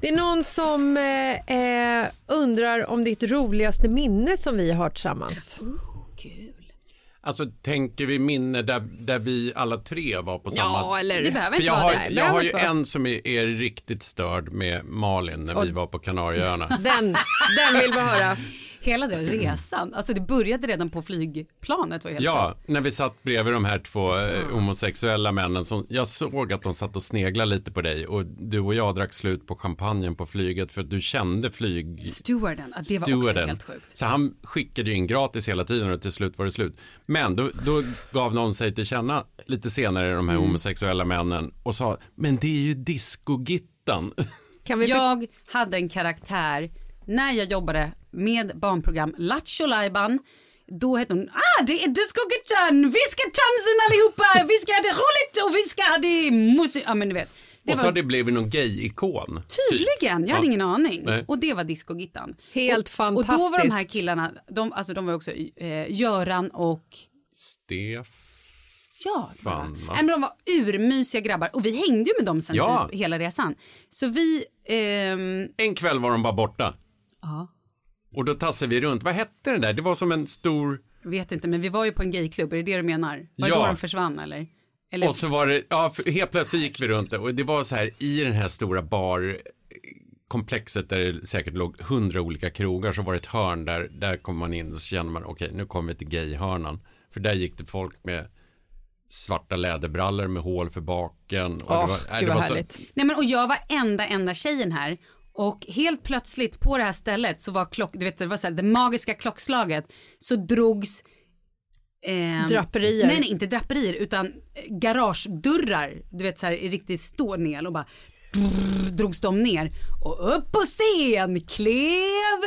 S2: Det är någon som eh, eh, undrar om ditt roligaste minne som vi har tillsammans.
S3: Alltså tänker vi minne där, där vi alla tre var på samma...
S2: eller-
S1: Det behöver
S3: För
S1: inte
S3: jag
S1: vara
S3: har,
S1: det.
S3: jag har
S2: behöver
S3: ju
S2: inte vara.
S3: en som är, är riktigt störd med Malin när vi var på Kanarieöarna.
S2: Den, den vill vi höra.
S1: Hela den resan, alltså det började redan på flygplanet var helt
S3: Ja, när vi satt bredvid de här två eh,
S1: Mm.
S3: homosexuella männen. Som, jag såg att de satt och sneglade lite på dig och du och jag drack slut på champagnen på flyget för att du kände flyg...
S1: Stewarden, ja, det var också
S3: stewarden.
S1: helt sjukt.
S3: Så han skickade ju in gratis hela tiden och till slut var det slut. Men då, då gav någon sig till känna lite senare de här
S1: Mm.
S3: homosexuella männen och sa men det är ju discogittan. <laughs>
S2: Kan vi för-
S1: Jag hade en karaktär när jag jobbade med barnprogram Lattjo Lajban. Då hette hon, ah det är discogittan, vi ska dansa allihopa, vi ska ha det roligt och vi ska ha det musik, ja men du vet. Det
S3: Och så
S1: var
S3: har det blivit någon gay-ikon. Typ
S1: tydligen, jag hade ingen aning.
S3: Nej.
S1: Och det var discogittan.
S2: Helt
S1: Och
S2: fantastiskt.
S1: då var de här killarna, de, alltså de var också eh, Göran och
S3: Stef...
S1: Ja,
S3: Fan, va?
S1: Nej, men de var urmysiga grabbar och vi hängde ju med dem sen
S3: Ja.
S1: typ hela resan. Så vi... ehm,
S3: En kväll var de bara borta.
S1: ja,
S3: Och då tassade vi runt. Vad hette den där? Det var som en stor...
S1: vet inte, men vi var ju på en gayklubb, är det det du menar? Var det
S3: Ja.
S1: då de försvann eller? eller
S3: Och så var det... Ja, för- helt plötsligt gick vi runt där. Och det var så här i den här stora barkomplexet där det säkert låg hundra olika krogar. Så var det ett hörn där, där kom man in och så kände man okej, nu kommer vi till gayhörnan. För där gick det folk med svarta läderbrallor med hål för baken. Och
S2: Åh,
S3: nej,
S2: gud vad
S3: var så-
S2: härligt.
S1: Nej, men, och jag var enda, enda tjejen här. Och helt plötsligt på det här stället så var klock, du vet, det var så här, det magiska klockslaget så drogs ehm,
S2: Draperier.
S1: Nej, nej, inte draperier utan eh, garagedörrar. Du vet så här i riktigt stå ner och bara drrrr, drogs de ner. Och upp på scen klev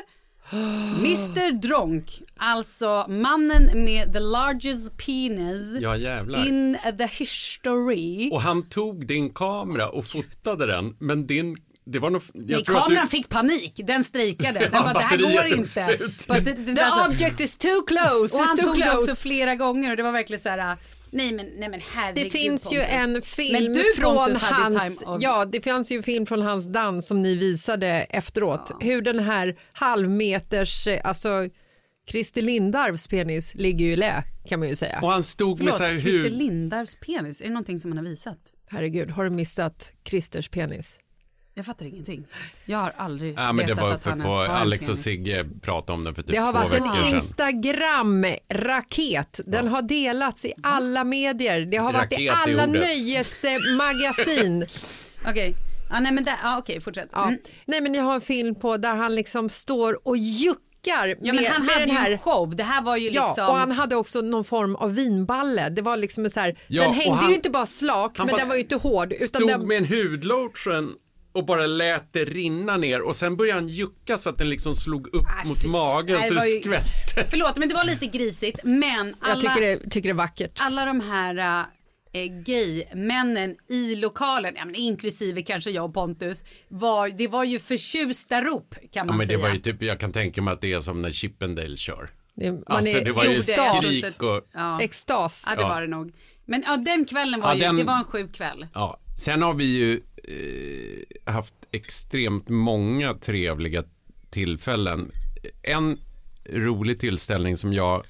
S1: <gasps> Mr Dronk, alltså mannen med the largest penis
S3: Ja, jävlar.
S1: in the history.
S3: Och han tog din kamera och fotade den, men din... Det var nog... jag
S1: Nej,
S3: tror att du-
S1: kameran fick panik. Den strejkade. Den
S3: Ja,
S1: bara, det här
S3: batteriet
S1: går
S3: tog
S1: inte.
S3: slut.
S1: Bara, det- det-
S2: The
S1: alltså-
S2: object is too close.
S1: och
S2: it's
S1: han
S2: too
S1: tog det
S2: close.
S1: också flera gånger och det var verkligen så här, äh, nej men, nej men herregud
S2: Det finns ju
S1: Pontus.
S2: en film
S1: Men du,
S2: från
S1: Pontus, hade
S2: hans
S1: time of-
S2: ja, det fanns ju en film från hans dans som ni visade efteråt. Hur den här halvmeters, eh, alltså Christer Lindarws penis ligger ju i lä kan man ju säga.
S3: Och han stod med
S1: Förlåt,
S3: så här
S1: Christer
S3: huvud...
S1: Lindarws penis, är det någonting som han har visat?
S2: Herregud, har du missat Christers penis?
S1: Jag fattar ingenting. Jag har aldrig
S3: Ja, men det
S1: vetat
S3: var
S1: att
S3: uppe
S1: han
S3: på...
S1: ens har en
S3: Alex och
S1: penis.
S3: Sigge pratade om den för typ
S2: Det har
S3: två
S2: varit
S3: veckor
S2: en
S3: sedan.
S2: Instagram-raket. Den har delats i alla medier. Det har varit i
S3: Mm. Raket är
S2: alla
S3: ordet. <laughs>
S2: nöjesmagasin.
S1: Okej, ja, nej men där, ja, okej fortsätt.
S2: Ja.
S1: Mm.
S2: Nej, men jag har en film på där han liksom står och juckar
S1: Ja,
S2: med,
S1: men han
S2: med
S1: hade
S2: den
S1: ju
S2: här.
S1: en show, det här var ju
S2: Ja,
S1: liksom...
S2: och han hade också någon form av vinballe. Det var liksom en så här,
S3: Ja,
S2: den
S3: och
S2: hängde
S3: han-
S2: ju inte bara slak,
S3: han
S2: men
S3: bara
S2: den var ju inte hård. Utan
S3: Stod
S2: den,
S3: med en hudlotion och bara lät det rinna ner och sen började han jucka så att den liksom slog upp
S2: Äh,
S1: Ah,
S3: mot
S1: fy-
S3: magen
S1: Nej,
S3: så det
S1: var ju-
S3: skvätte.
S1: Förlåt men det var lite grisigt men alla...
S2: Jag tycker det, tycker det är vackert.
S1: alla de här eh, gay-männen i lokalen, ja, men inklusive kanske jag och Pontus, var, det var ju förtjusta rop kan
S3: Ja,
S1: man
S3: men det
S1: säga.
S3: var ju typ, jag kan tänka mig att det är som när Chippendale kör.
S2: Det, man
S3: Alltså
S2: är
S3: det var ju
S1: Jo, det är-
S2: extas.
S3: skrik och...
S1: ja.
S2: extas.
S1: ja, det
S3: Ja.
S1: var det nog. Men ja, den kvällen var
S3: Ja,
S1: ju,
S3: den-
S1: det var en sjuk kväll.
S3: Ja, sen har vi ju eh, haft extremt många trevliga tillfällen. En rolig tillställning som jag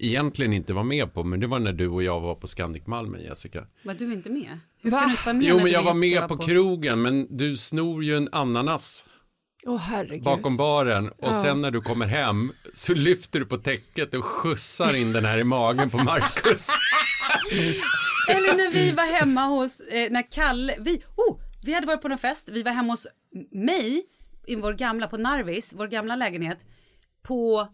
S3: egentligen inte var med på, men det var när du och jag var på Scandic Malmen, Jessica.
S1: Var du inte med? Hur
S2: Va?
S1: kan du inte vara med
S3: Jo,
S1: när
S3: men
S1: du
S3: jag var
S1: inte
S3: med
S1: ska
S3: på
S1: vara
S3: krogen, men du snor ju en ananas
S2: Åh herregud.
S3: bakom baren och sen när du kommer hem så lyfter du på täcket och skjutsar in den här i magen på
S1: <laughs>
S3: Marcus.
S1: <laughs> Eller när vi var hemma hos, eh, när Kalle, vi, oh, vi hade varit på någon fest, vi var hemma hos mig, i vår gamla, på Narvis, vår gamla lägenhet, på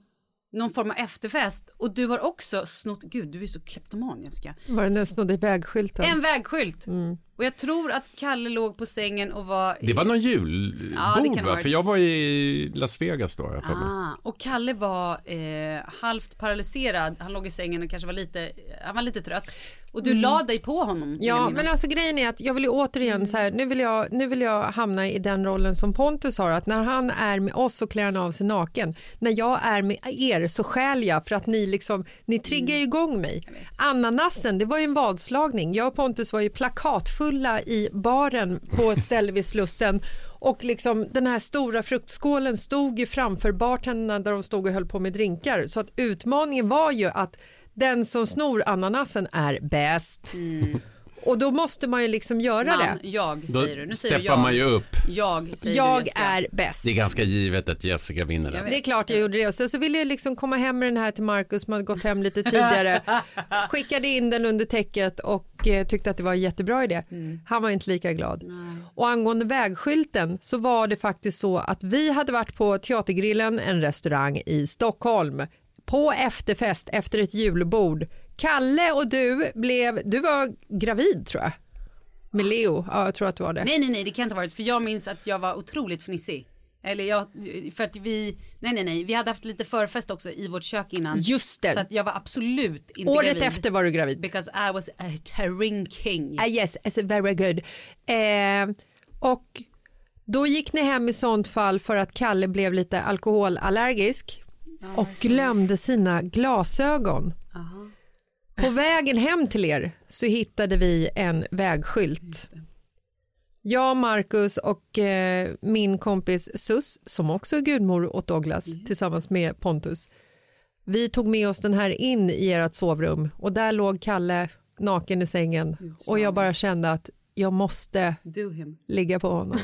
S1: någon form av efterfest och du har också snott, gud du är så kleptoman Jessica,
S2: Var det när jag snodde vägskylten?
S1: en vägskylt.
S2: Mm.
S1: Och jag tror att Kalle låg på sängen och var,
S3: Det var någon julbord,
S1: Ja, det kan ha
S3: va?
S1: varit.
S3: För jag var i Las Vegas då, har jag för mig.
S1: ah, och Kalle var eh, halvt paralyserad, han låg i sängen och kanske var lite, han var lite trött. Och du la dig på honom. vill jag
S2: Mm. Ja,
S1: minnas.
S2: men alltså grejen är att jag vill ju återigen så här, nu vill, jag, nu vill jag hamna i den rollen som Pontus har, att när han är med oss så klär han av sig naken. När jag är med er så skäl jag för att ni liksom, ni triggar ju igång mig. Ananasen, det var ju en vadslagning. Jag och Pontus var ju plakatfulla i baren på ett ställe vid Slussen och liksom den här stora fruktskålen stod ju framför bartenderna där de stod och höll på med drinkar. Så att utmaningen var ju att den som snor ananasen är bäst. Och då måste man ju liksom göra
S1: Man,
S2: det.
S1: jag
S3: Då
S1: säger du. Nu säger du
S3: steppar
S1: jag.
S3: man ju upp.
S1: Jag säger du,
S2: Jag
S1: Jessica.
S2: är bäst.
S3: Det är ganska givet att Jessica vinner
S1: Jag
S3: den.
S1: vet.
S2: Det är klart jag gjorde det. Och Sen så ville jag liksom komma hem med den här till Markus som hade gått hem lite tidigare. Skickade in den under täcket och eh, tyckte att det var en jättebra idé. Han var inte lika glad. Och angående vägskylten så var det faktiskt så att vi hade varit på Teatergrillen, en restaurang i Stockholm, på efterfest efter ett julbord. Kalle och du blev, du var gravid tror jag. Med Leo, ja jag tror att du var det.
S1: Nej, nej, nej, det kan inte ha varit. För jag minns att jag var otroligt fnissig. Eller jag, för att vi, nej, nej, nej, vi hade haft lite förfest också i vårt kök innan.
S2: Just det.
S1: Så att jag var absolut inte
S2: Året
S1: gravid.
S2: efter var du gravid.
S1: Because I was a drinking.
S2: Ah, yes, it's very good. Eh, och då gick ni hem i sånt fall för att Kalle blev lite alkoholallergisk och glömde sina glasögon. På vägen hem till er så hittade vi en vägskylt. Jag, Marcus och eh, min kompis Sus, som också är gudmor åt Douglas,
S1: Mm.
S2: tillsammans med Pontus. Vi tog med oss den här in i ert sovrum och där låg Kalle naken i sängen och jag bara kände att jag måste
S1: Do him.
S2: ligga på honom.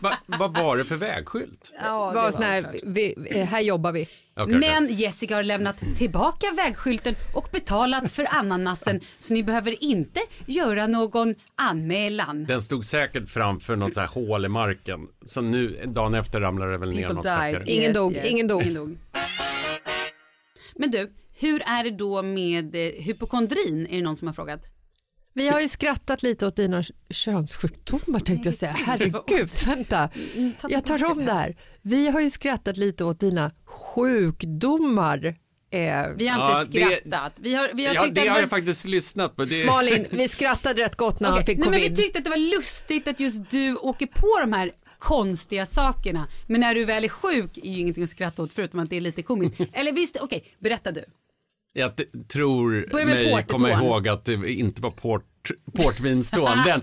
S3: Va, vad var det för vägskylt?
S1: Ja,
S2: Bara sån här, vi, eh, här jobbar vi.
S3: Okej, okej.
S1: Men Jessica har lämnat tillbaka vägskylten och betalat för ananasen så ni behöver inte göra någon anmälan.
S3: Den stod säkert framför något så här hål i marken. Så nu, dagen efter ramlade det väl ner någon stackare.
S2: Ingen dog, ingen dog.
S1: Men du, hur är det då med eh, hypokondrin? Är det någon som har frågat?
S2: Vi har ju skrattat lite åt dina könssjukdomar tänkte jag säga. Herregud, vänta. Jag tar om det här. Vi har ju skrattat lite åt dina sjukdomar. Eh,
S1: Vi har
S3: Ja,
S1: inte
S3: det-
S1: skrattat. Vi har, vi har
S3: Ja,
S1: tyckt
S3: det
S1: att
S3: har
S1: var-
S3: jag faktiskt lyssnat på. Det...
S2: Malin, vi skrattade rätt gott när
S1: Okej,
S2: han fick
S1: Nej,
S2: covid.
S1: men vi tyckte att det var lustigt att just du åker på de här konstiga sakerna. Men när du väl är sjuk är ju ingenting att skratta åt förutom att det är lite
S3: <laughs>
S1: komiskt. Eller visst, okej, berätta du.
S3: Jag t- tror
S1: Börja med
S3: mig
S1: portetån.
S3: komma ihåg att det inte var port, portvinstån.
S1: <laughs>
S3: Den,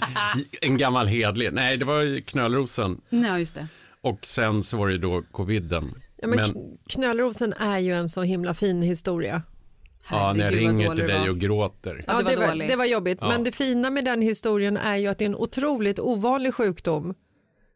S3: en gammal hedlig. Nej, det var ju knölrosen.
S1: Nej, just det.
S3: Och sen så var det ju då coviden.
S2: ja, men kn- Knölrosen är ju en så himla fin historia.
S3: ja, när jag
S1: Herregud, vad
S3: ringer
S1: dålig
S3: till
S1: du
S3: dig
S1: var.
S3: och gråter.
S1: Ja, det var
S2: det, var,
S1: dåligt.
S2: det var jobbigt.
S3: Ja.
S2: Men det fina med den historien är ju att det är en otroligt ovanlig sjukdom.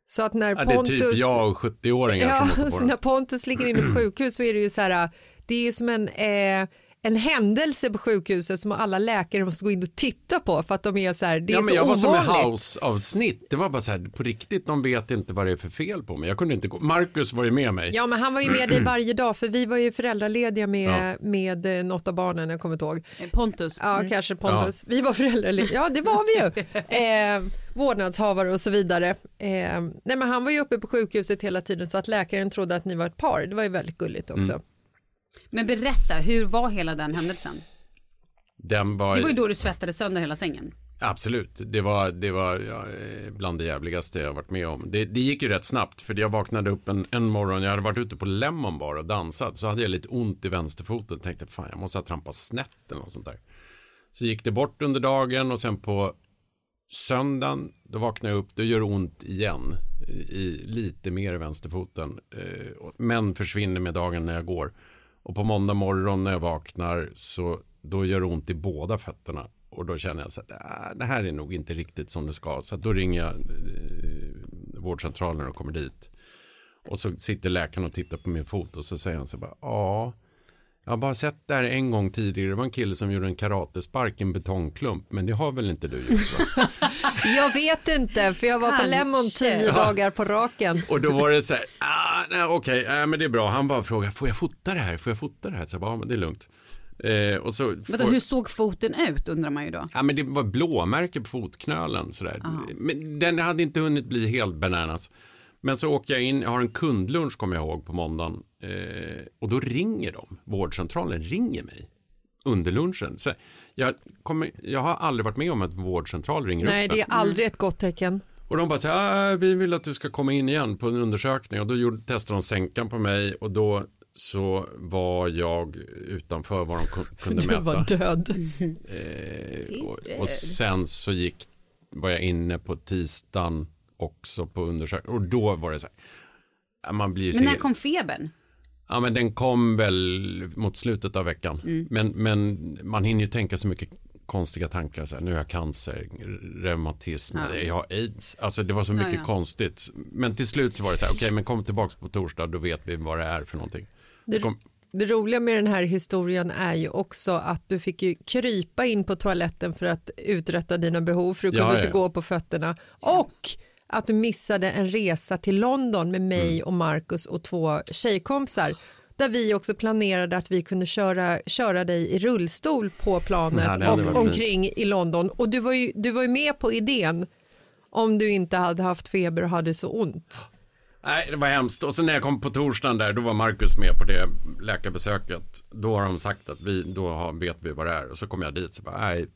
S2: Så att när
S3: Ja, det är
S2: Pontus...
S3: typ jag och 70-åringar
S2: Ja,
S3: som åker
S2: så
S3: på Mm.
S2: när
S3: den.
S2: Pontus ligger inne på sjukhus så är det ju så här, det är ju som en, eh, en händelse på sjukhuset som alla läkare måste gå in och titta på för att de är så här, det är
S3: Ja,
S2: så
S3: men jag var
S2: ovanligt.
S3: som i House-avsnitt. Det var bara så här, på riktigt, de vet inte vad det är för fel på mig. Jag kunde inte gå. Marcus var ju med mig.
S2: Ja, men han var ju med
S3: <clears throat>
S2: dig varje dag för vi var ju föräldralediga med, med eh, något av barnen, jag kommer inte ihåg.
S1: Eh, Pontus.
S2: Ja,
S3: Mm.
S2: kanske Pontus. Vi var föräldralediga, ja det var
S3: <laughs>
S2: vi ju. Eh, vårdnadshavare och så vidare. Eh, nej, men han var ju uppe på sjukhuset hela tiden så att läkaren trodde att ni var ett par. Det var ju väldigt gulligt också.
S3: Mm.
S1: Men berätta, hur var hela den händelsen?
S3: Den var,
S1: Det var ju då du svettades sönder hela sängen.
S3: Absolut, det var, det var ja, eh, bland det jävligaste jag har varit med om. Det, det gick ju rätt snabbt för jag vaknade upp en, en morgon, jag hade varit ute på Lemon Bar och dansat. Så hade jag lite ont i vänsterfoten och tänkte fan jag måste ha trampat snett eller något sånt där. Så gick det bort under dagen och sen på söndagen då vaknade jag upp, då gör det ont igen. I, i lite mer i vänsterfoten. Eh, och- men försvinner med dagen när jag går. Och på måndag morgon när jag vaknar så då gör det ont i båda fötterna. Och då känner jag så att "Ah, det här är nog inte riktigt som det ska. Så att då ringer jag eh, vårdcentralen och kommer dit. Och så sitter läkaren och tittar på min fot och så säger han så bara ja. Jag har bara sett det här en gång tidigare. Det var en kille som gjorde en karatespark i en betongklump. Men det har väl inte du gjort va?
S2: Jag vet inte, för jag var på
S1: Kanske.
S2: Lemon tio dagar på raken.
S3: Och då var det så här, ah, nej, okej, nej, men det är bra. Han bara frågade, får jag fota det här? Får jag fota det här? Så jag bara, ja, men det är lugnt. Eh, och så
S1: Vadå,
S3: får-
S1: hur såg foten ut undrar man ju då.
S3: Ja, men det var blåmärke på fotknölen. Sådär. Men den hade inte hunnit bli helt bananas. Men så åker jag in, jag har en kundlunch kommer jag ihåg på måndagen. Eh, och då ringer de, vårdcentralen ringer mig under lunchen. Så jag, kommer, jag har aldrig varit med om att en vårdcentral ringer
S2: Nej,
S3: upp mig.
S2: det är aldrig ett gott tecken.
S3: Och de bara så här, "Ah, vi vill att du ska komma in igen på en undersökning. Och då gjorde, testade de sänkan på mig och då så var jag utanför vad
S2: <laughs>
S3: de ku- kunde
S2: Du
S3: mäta.
S2: var död.
S3: Eh, och, och sen så gick, var jag inne på tisdagen också på undersökning. Och då var det så här. Man blir ju så
S1: Men när kom febern?
S3: Ja men den kom väl mot slutet av veckan.
S1: Mm.
S3: Men, men man hinner ju tänka så mycket konstiga tankar. Så här, nu har jag cancer, reumatism, jag har aids. Alltså det var så mycket
S1: ja.
S3: konstigt. Men till slut så var det så här, okej men kom tillbaka på torsdag, då vet vi vad det är för någonting. Så kom,
S2: Det roliga med den här historien är ju också att du fick ju krypa in på toaletten för att uträtta dina behov för du
S3: Ja,
S2: kunde
S3: ja.
S2: inte gå på fötterna. Och att du missade en resa till London med mig
S3: Mm.
S2: och Marcus och två tjejkompisar där vi också planerade att vi kunde köra, köra dig i rullstol på
S3: Ja,
S2: planet
S3: det hade varit
S2: och
S3: fint.
S2: omkring i London. Och du var, ju, du var ju med på idén om du inte hade haft feber och hade så ont.
S3: Nej, det var hemskt. Och sen när jag kom på torsdagen där, då var Marcus med på det läkarbesöket. Då har de sagt att vi, då har, vet vi vad det är. Och så kom jag dit så bara, nej,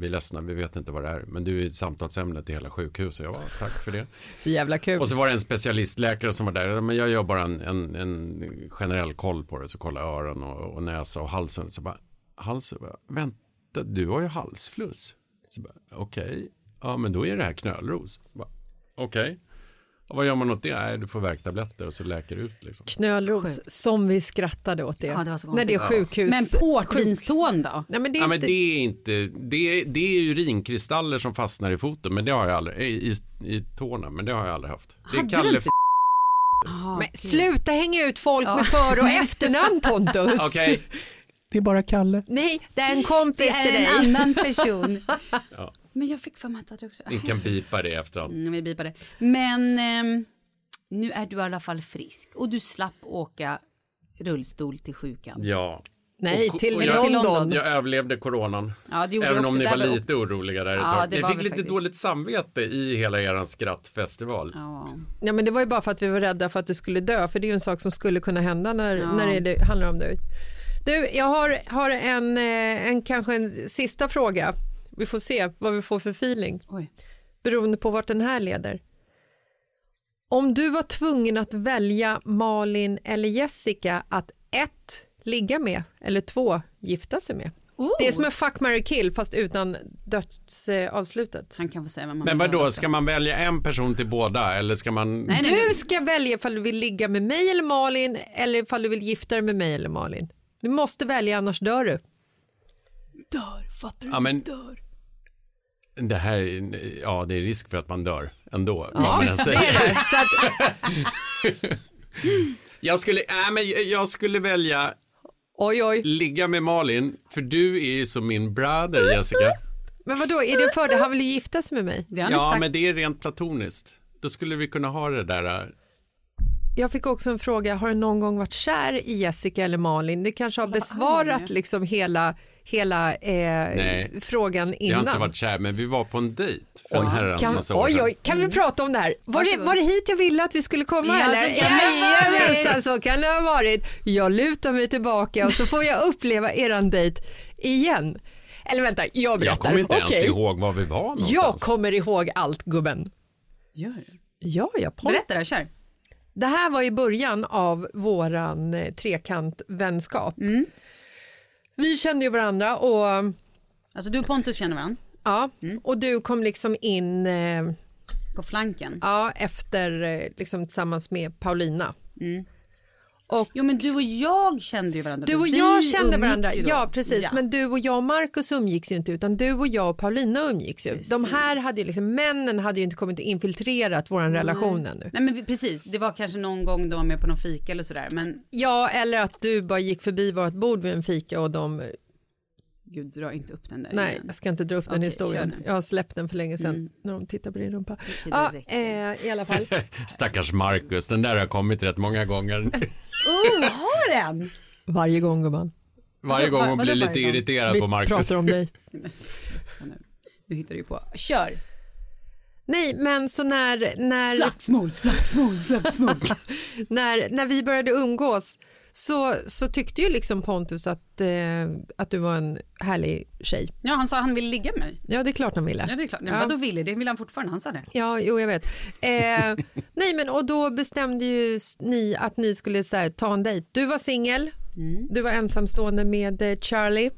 S3: vi är ledsna, vi vet inte vad det är. Men du är samtalsämnet i hela sjukhuset. Jag bara, tack för det.
S2: Så jävla kul.
S3: Och så var det en specialistläkare som var där. Men jag gör bara en, en, en generell koll på det. Så kollar jag öron och, och näsa och halsen. Så bara, halsen. Jag bara, Vänta, du har ju halsfluss. Så jag bara, Okej, ja men då är det här knölros. Jag bara, Okej, ja, vad gör man åt det? Nej, du får värktabletter och så läker det ut liksom.
S2: Knölros, som vi skrattade åt det.
S1: Ja, det var så
S2: När det är
S3: konstigt.
S2: sjukhus.
S1: Men portvinstån då?
S2: Nej, men det är
S3: Ja, men
S2: inte-
S3: det är inte, det är, det är urinkristaller som fastnar i foten, men det har jag aldrig, i, i, i tårna, men det har jag aldrig haft. Det
S1: Hade du inte
S3: F-
S2: Men sluta hänga ut folk med för och efternamn Pontus.
S3: Okej,
S7: Det är bara Kalle.
S2: Nej, det är en kompis
S1: Det
S2: till
S1: är
S2: dig.
S1: en annan person.
S3: <laughs> Ja.
S1: Men jag fick för mig att du hade också.
S3: ni kan bipa det i efterhand.
S1: Mm, vi bipar det. Men ehm, nu är du i alla fall frisk och du slapp åka rullstol till sjukan.
S3: Ja.
S2: Nej,
S3: Och-
S2: till
S3: och jag-
S2: London.
S3: Jag överlevde coronan.
S1: Ja, det gjorde
S3: Även
S1: du också.
S3: om ni
S1: Där
S3: var
S1: vi-
S3: lite oroliga där ett
S1: Ja,
S3: tag.
S1: det
S3: Ni
S1: var
S3: fick
S1: vi
S3: lite
S1: faktiskt.
S3: dåligt samvete i hela er skrattfestival.
S1: Ja.
S2: Ja, men det var ju bara för att vi var rädda för att du skulle dö, för det är ju en sak som skulle kunna hända när,
S1: Ja.
S2: när det, det handlar om dig. Du, jag har, har en, eh, en kanske en sista fråga. Vi får se vad vi får för feeling,
S1: Oj.
S2: beroende på vart den här leder. Om du var tvungen att välja Malin eller Jessica att ett, ligga med eller två, gifta sig med. Det är som en fuck, marry, kill fast utan dödsavslutet.
S1: Han kan få säga vad man
S3: Men
S1: vill höra
S3: vadå,
S1: också.
S3: ska man välja en person till båda eller ska man?
S1: Nej, nej,
S2: Du ska välja ifall du vill ligga med mig eller Malin eller ifall du vill gifta dig med mig eller Malin. Du måste välja annars dör du.
S3: Ja, men... Det här, är- ja det är risk för att man dör ändå.
S1: <laughs>
S3: vad man än säger.
S2: Så att,
S3: Jag skulle, nej men jag skulle välja
S2: oj oj.
S3: ligga med Malin, för du är ju som min brother
S1: <laughs>
S3: Jessica.
S2: Men vad då? är det för det? Han vill ju gifta sig med mig.
S1: Det har han inte
S3: Ja,
S1: sagt.
S3: men det är rent platoniskt. Då skulle vi kunna ha det där. äh,
S2: Jag fick också en fråga, har du någon gång varit kär i Jessica eller Malin? Det kanske har besvarat liksom hela, hela eh,
S3: Nej.
S2: frågan
S3: Jag har inte
S2: innan.
S3: varit kär, men vi var på en dejt för en herrans
S2: Kan,
S3: massa år
S2: oj,
S3: sedan.
S2: oj, kan vi prata om det här? Var det, var det hit jag ville att vi skulle komma?
S1: Ja,
S2: eller?
S1: det kan vi.
S2: Jajamensan, så kan det ha varit. Jag lutar mig tillbaka och så får jag uppleva eran dejt igen. Eller vänta, jag berättar.
S3: Jag kommer inte ens
S2: Okej.
S3: ihåg var vi var någonstans.
S2: Jag kommer ihåg allt, gubben.
S1: Gör det.
S2: Ja, jag pom-
S1: Berätta då, kör.
S2: det här var i början av våran eh, trekantvänskap.
S1: Mm.
S2: Vi kände ju varandra och
S1: Alltså du och Pontus känner varandra
S2: ja,
S1: Mm.
S2: och du kom liksom in eh,
S1: på flanken.
S2: ja, efter eh, liksom tillsammans med Paulina.
S1: Jo men du och jag kände ju varandra.
S2: Du
S1: då.
S2: och
S1: Vi
S2: jag kände
S1: umgicks
S2: varandra,
S1: ju då.
S2: ja precis,
S1: Ja.
S2: men du och jag och Markus umgicks ju inte utan du och jag och Paulina umgicks ju. De här hade ju liksom, männen hade ju inte kommit infiltrerat
S1: Mm.
S2: våran relation ännu.
S1: Nej men vi- precis, det var kanske någon gång de var med på någon fika eller sådär men
S2: Ja, eller att du bara gick förbi vårt bord vid en fika och de,
S1: gud dra inte upp den där
S2: nej
S1: igen.
S2: jag ska inte dra upp den
S1: Okej,
S2: historien,
S1: kör nu. Mm.
S2: jag har släppt den för länge sedan när de tittar på din rumpa.
S1: det
S2: Ja,
S1: räcker.
S2: eh, I
S1: <laughs>
S2: alla fall,
S3: Stackars Marcus, den där har kommit rätt många gånger.
S2: <laughs>
S1: Oh, har den?
S2: varje gång gumman,
S3: Varje gång hon
S1: Vadå
S3: blir
S1: varje
S3: lite
S1: gång?
S3: irriterad
S2: vi
S3: på Marcus.
S2: pratar om dig.
S3: <laughs>
S1: Nej, men sluta nu. Nu hittar du ju på. Kör!
S2: Nej, men så när, när
S1: Slagsmål, slagsmål, slagsmål.
S2: när, när vi började umgås så, så tyckte ju liksom Pontus att, eh, att du var en härlig tjej.
S1: ja, han sa han ville ligga med mig.
S2: Ja, det är klart han ville.
S1: Ja, det är klart. Nej, men
S2: Ja.
S1: vadå ville? Det vill han fortfarande. Han sa det.
S2: Ja, jo, jag vet. Eh, nej, men och då bestämde ju s- ni att ni skulle så här, ta en dejt. Du var singel, du var ensamstående med eh, Charlie.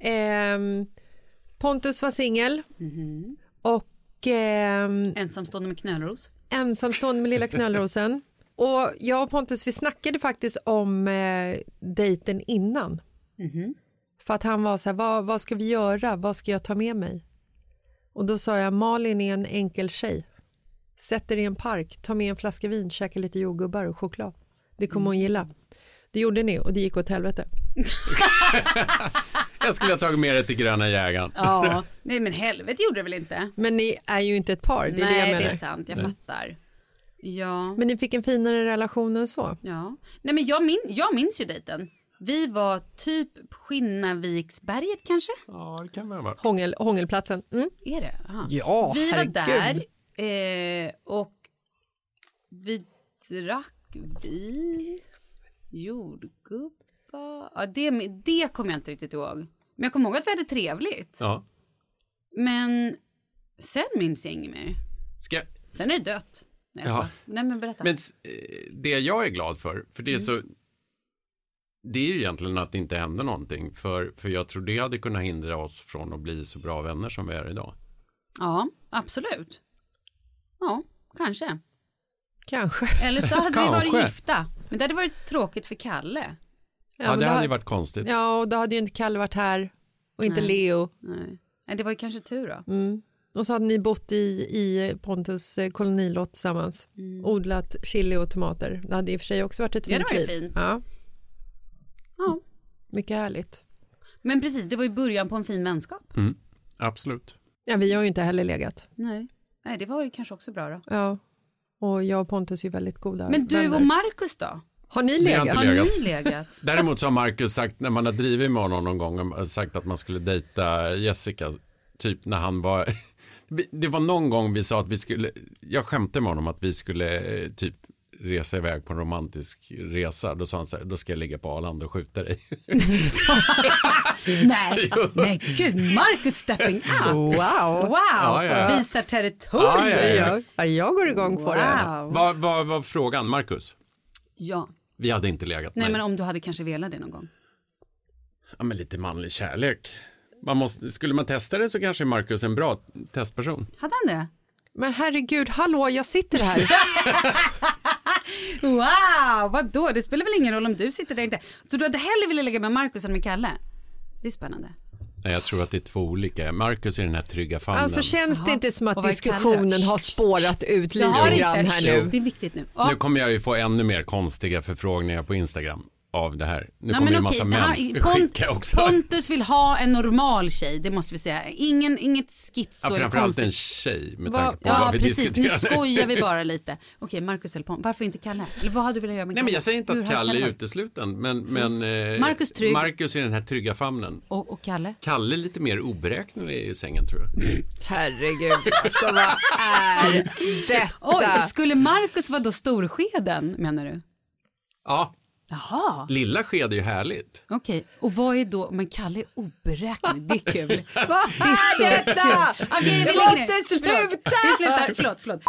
S2: Ehm, Pontus var singel och ehm,
S1: Ensamstående med knölros.
S2: ensamstående med lilla knölrosen. Och jag och Pontus vi snackade faktiskt om eh, dejten innan. Mhm. För att han var så här, vad, vad ska vi göra, vad ska jag ta med mig? Och då sa jag, Malin är en enkel tjej. Sätt er i en park, ta med en flaska vin, käka lite jordgubbar och choklad. Det kommer hon gilla. Det gjorde ni och det gick åt helvete.
S3: Jag skulle ha tagit med det till gröna jägaren.
S1: <laughs> Ja. Nej, men helvete gjorde det väl inte?
S2: Men ni är ju inte ett par, det är
S1: Nej,
S2: det jag menar.
S1: är sant. Jag fattar. Ja.
S2: Men ni fick en finare relation än så.
S1: ja. Nej, men jag, min- jag minns ju dejten. Vi var typ på Skinnaviksberget kanske?
S3: Ja, det kan väl vara.
S2: Hångel, hångelplatsen. Mm.
S1: Är det? Aha.
S2: Ja,
S1: Vi
S2: herregud.
S1: var där eh, och vi drack vin, jordgubbar. Ja, det, det kommer jag inte riktigt ihåg. Men jag kommer ihåg att vi hade trevligt.
S3: Ja.
S1: Men sen minns jag inget mer.
S3: Ska,
S1: Sen är det dött. Nej, jag
S3: Ja.
S1: skojar. Nej men berätta.
S2: Mm.
S3: men s- eh, det jag är glad för, för det är så det är ju egentligen att det inte hände någonting. För, för jag tror det hade kunnat hindra oss från att bli så bra vänner som vi är idag.
S1: Ja, absolut. Ja, kanske.
S2: Kanske.
S1: Eller så hade vi varit
S3: Kanske.
S1: gifta. Men det hade varit tråkigt för Kalle.
S3: Ja, det hade ju varit konstigt.
S2: Ja, och då hade ju inte Kalle varit här och inte
S1: Nej.
S2: Leo.
S1: Nej. Nej, det var ju kanske tur då.
S2: Mm. Och så hade ni bott i, i Pontus eh, kolonilott tillsammans. Odlat chili och tomater. Det hade i och för sig också varit ett
S1: Mm. Ja, det
S2: fint
S1: var ju
S2: liv.
S1: fint.
S2: Ja.
S1: Ja.
S2: Mycket härligt.
S1: Men precis, det var ju början på en fin vänskap.
S3: Mm. Absolut.
S2: Ja, vi har ju inte heller legat.
S1: Nej, Nej det var ju kanske också bra då.
S2: Ja. Och jag och Pontus är ju väldigt goda
S1: Men du
S2: vänner.
S1: och Markus då?
S2: Har ni
S3: Vi
S2: legat?
S3: eh, har inte
S1: Har
S3: legat.
S1: ni
S3: <laughs>
S1: legat?
S3: Däremot så har Marcus sagt, när man har drivit med honom någon gång, och sagt att man skulle dejta Jessica, typ när han var, <laughs> det var någon gång vi sa att vi skulle, jag skämtade med honom att vi skulle eh, typ resa iväg på en romantisk resa. Då sa han så här, då ska jag ligga på Arlanda och skjuta dig.
S1: Nej, nej gud, Marcus stepping up.
S2: Wow.
S1: Wow,
S3: Ja, ja, ja.
S1: visar territorium.
S3: Ja, ja, ja.
S2: Ja, jag går igång på det.
S1: Wow.
S3: <laughs> Vad vad var frågan, Marcus?
S1: Ja,
S3: Vi hade inte legat.
S1: nej men om du hade kanske velat det någon gång.
S3: Ja, men lite manlig kärlek. Man måste, skulle man testa det så kanske Marcus är en bra testperson.
S1: Hade han det?
S2: Men herregud, hallå, jag sitter här.
S1: Wow, vadå? Det spelar väl ingen roll om du sitter där inte. Så du hade hellre velat lägga med Markus än med Kalle? Det är spännande.
S3: Nej, jag tror att det är två olika. Marcus är den här trygga famnen.
S2: Alltså känns det inte som
S1: Och
S2: att
S1: vad är Kalle?
S2: diskussionen har spårat ut lite
S1: Jag har inte.
S2: grann här nu?
S1: Det är viktigt nu.
S3: Nu kommer jag ju få ännu mer konstiga förfrågningar på Instagram av det här. Nu kommer det en massa män skicka också.
S1: Pontus vill ha en normal tjej, det måste vi säga. Ingen, inget schizo
S3: ja,
S1: eller
S3: framförallt en
S1: konstigt.
S3: tjej med
S2: Vad-
S3: tanke på
S1: Ja,
S3: vad vi
S1: precis. Nu
S3: diskuterar.
S1: skojar vi
S3: <laughs>
S1: bara lite. Okej, Markus eller Pontus, varför inte Kalle? Eller vad hade du velat göra med Kalle?
S3: Nej, men jag säger inte
S1: Hur
S3: att
S1: hade
S3: Kalle är
S1: varit?
S3: utesluten, men, men eh,
S1: Marcus trygg.
S3: Marcus är den här trygga famnen.
S1: Och, och Kalle?
S3: Kalle är lite mer oberäknelig i sängen tror jag.
S2: Herregud, alltså vad
S1: <laughs>
S2: är detta?
S1: Oj, skulle Markus vara då storskeden, menar du?
S3: Ja,
S1: Jaha.
S3: lilla sked är ju härligt.
S1: Okej, och vad är då, men Kalle är oberäknelig, det <laughs> är kul.
S2: Vad är detta?
S1: Okej, vi
S2: Jag
S1: lägger
S2: måste
S1: ner. Förlåt.
S2: sluta!
S1: Vi slutar, förlåt, förlåt.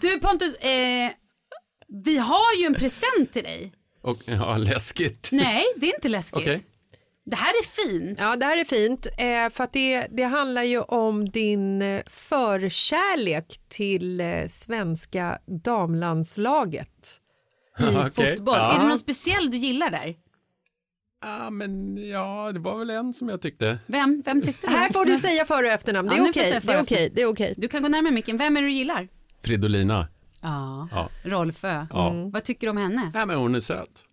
S1: Du Pontus, eh, vi har ju en present till dig.
S3: Och ja, läskigt.
S1: Nej, det är inte läskigt.
S3: Okej.
S1: Det här är fint.
S2: Ja, det här är fint. eh, För att det, det handlar ju om din eh, förkärlek till eh, svenska damlandslaget.
S1: I
S3: <laughs> Okej.
S1: fotboll.
S3: Ja.
S1: Är det någon speciell du gillar där?
S3: Ja, men ja, det var väl en som jag tyckte.
S1: Vem, vem tyckte du?
S2: Här får du säga för och efternamn. Det
S1: Ja,
S2: är
S1: nu får jag säga
S2: okej. Det
S1: för-
S2: är okej. Det är okej.
S1: Du kan gå närmare micken. Vem är det du gillar?
S3: Fridolina.
S1: Ja,
S3: Ja.
S1: Rolfö.
S3: Ja.
S1: Vad tycker du om henne?
S3: Nej, men hon är söt.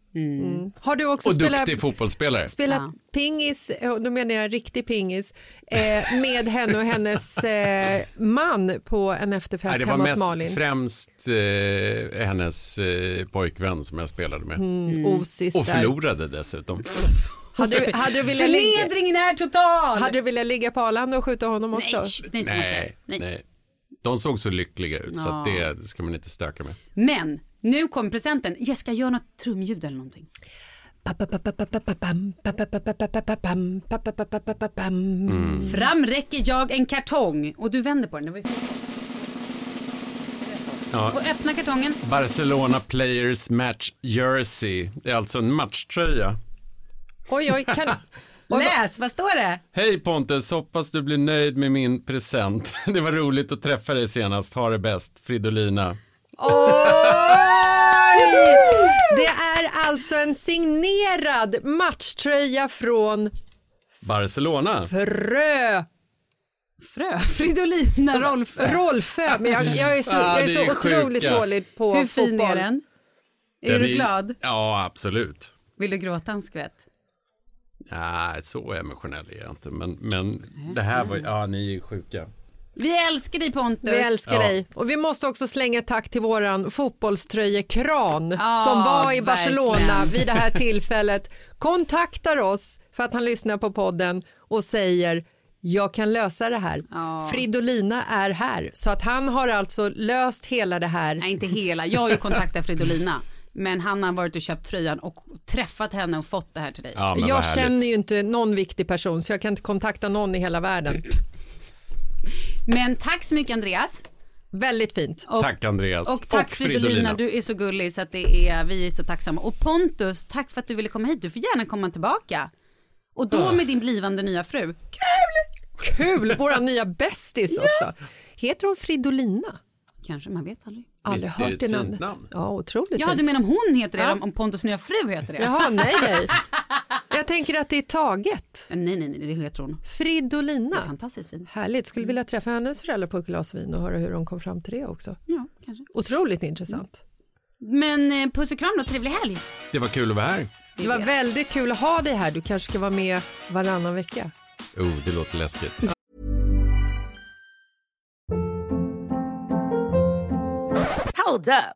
S2: Har du också
S3: Och
S2: spelat,
S3: duktig fotbollsspelare.
S2: spelat
S1: Ja.
S2: pingis, eh, då menar jag riktig pingis, eh, med henne och hennes eh, man på en efterfest
S3: Nej, det var
S2: hemma hos
S3: mest,
S2: Malin?
S3: främst eh, hennes eh, pojkvän som jag spelade med.
S2: Mm. Osis
S3: Och
S2: där.
S3: förlorade dessutom.
S2: Hade du, hade, du velat ligga,
S1: Förnedringen är total!
S2: hade du velat ligga på Arlanda och skjuta honom
S1: Nej,
S2: också?
S1: sh- nej, så måste jag säga. nej.
S3: Nej, nej. De såg så lyckliga ut så att det ska man inte stöka med.
S1: Men nu kommer presenten. Jessica, gör något trumljud eller någonting. Mm. Fram räcker jag en kartong och du vänder på den. Det var ju...
S3: Ja.
S1: Och öppna kartongen.
S3: Barcelona Players Match Jersey. Det är alltså en matchtröja.
S2: Oj, oj,
S1: <laughs>
S2: kan...
S1: Läs, vad står det?
S3: Hej Pontus, hoppas du blir nöjd med min present. <laughs> Det var roligt att träffa dig senast. Ha det bäst, Fridolina.
S2: Oj! Det är alltså en signerad matchtröja från
S3: Barcelona.
S2: Frö...
S1: Frö, Fridolina, <laughs> Rolf.
S2: Rolfö. Men jag, jag är så, jag är
S3: det
S2: så
S3: är
S2: otroligt
S3: sjuka.
S2: dålig på
S1: Hur
S2: fotboll.
S1: fin är den? Är
S3: Den
S1: du glad?
S3: Ja, absolut.
S1: Vill du gråta en skvätt?
S3: Nej, så emotionell är jag inte. Men, men det här var Ja, ni är sjuka.
S1: Vi älskar dig Pontus.
S2: Vi älskar
S3: Ja.
S2: dig. Och vi måste också slänga ett tack till våran fotbollströjekran som var i
S1: verkligen.
S2: Barcelona vid det här tillfället. Kontaktar oss för att han lyssnar på podden och säger jag kan lösa det här. Fridolina är här. Så att han har alltså löst hela det här.
S1: Nej, inte hela. Jag har ju kontaktat Fridolina. Men han har varit och köpt tröjan och träffat henne och fått det här till dig.
S3: Ja, men vad
S2: jag
S3: härligt.
S2: känner ju inte någon viktig person så jag kan inte kontakta någon i hela världen.
S1: Men tack så mycket Andreas.
S2: Väldigt fint.
S3: Tack Andreas.
S1: Och tack Fridolina. du är så gullig så att det är, vi är så tacksamma. Och Pontus, tack för att du ville komma hit. Du får gärna komma tillbaka. Och då med din blivande nya fru.
S2: Kul! Vår nya bästis också. Heter hon Fridolina?
S1: Kanske, man vet aldrig.
S2: Aldrig
S1: Visst är det
S2: hört
S1: ett
S2: det
S1: fint
S2: namnet.
S1: namn?
S2: Ja, otroligt
S1: Ja,
S2: fint.
S1: du menar om hon heter det, eller om Pontus nya fru heter det?
S2: Jaha, nej, nej. Jag tänker att det är taget.
S1: Eh, Nej, nej, nej, det heter hon.
S2: Fridolina.
S1: fantastiskt fint.
S2: Härligt. Skulle vilja träffa hennes föräldrar på ett glas vin och höra hur de kom fram till det också.
S1: Ja, kanske.
S2: Otroligt intressant.
S1: Men eh, puss och kram då, trevlig helg.
S3: Det var kul att vara här.
S2: Det var väldigt kul att ha dig här. Du kanske ska vara med varannan vecka.
S3: Oh, det låter läskigt.
S8: Hold up.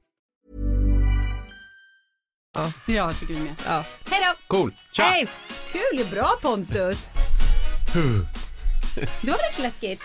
S1: Ja, jag tycker vi med.
S2: Ja.
S1: Hej då!
S3: Cool. Tja!
S1: Hej! Kul, bra Pontus.
S3: Huh.
S1: Det var väl lite läskigt?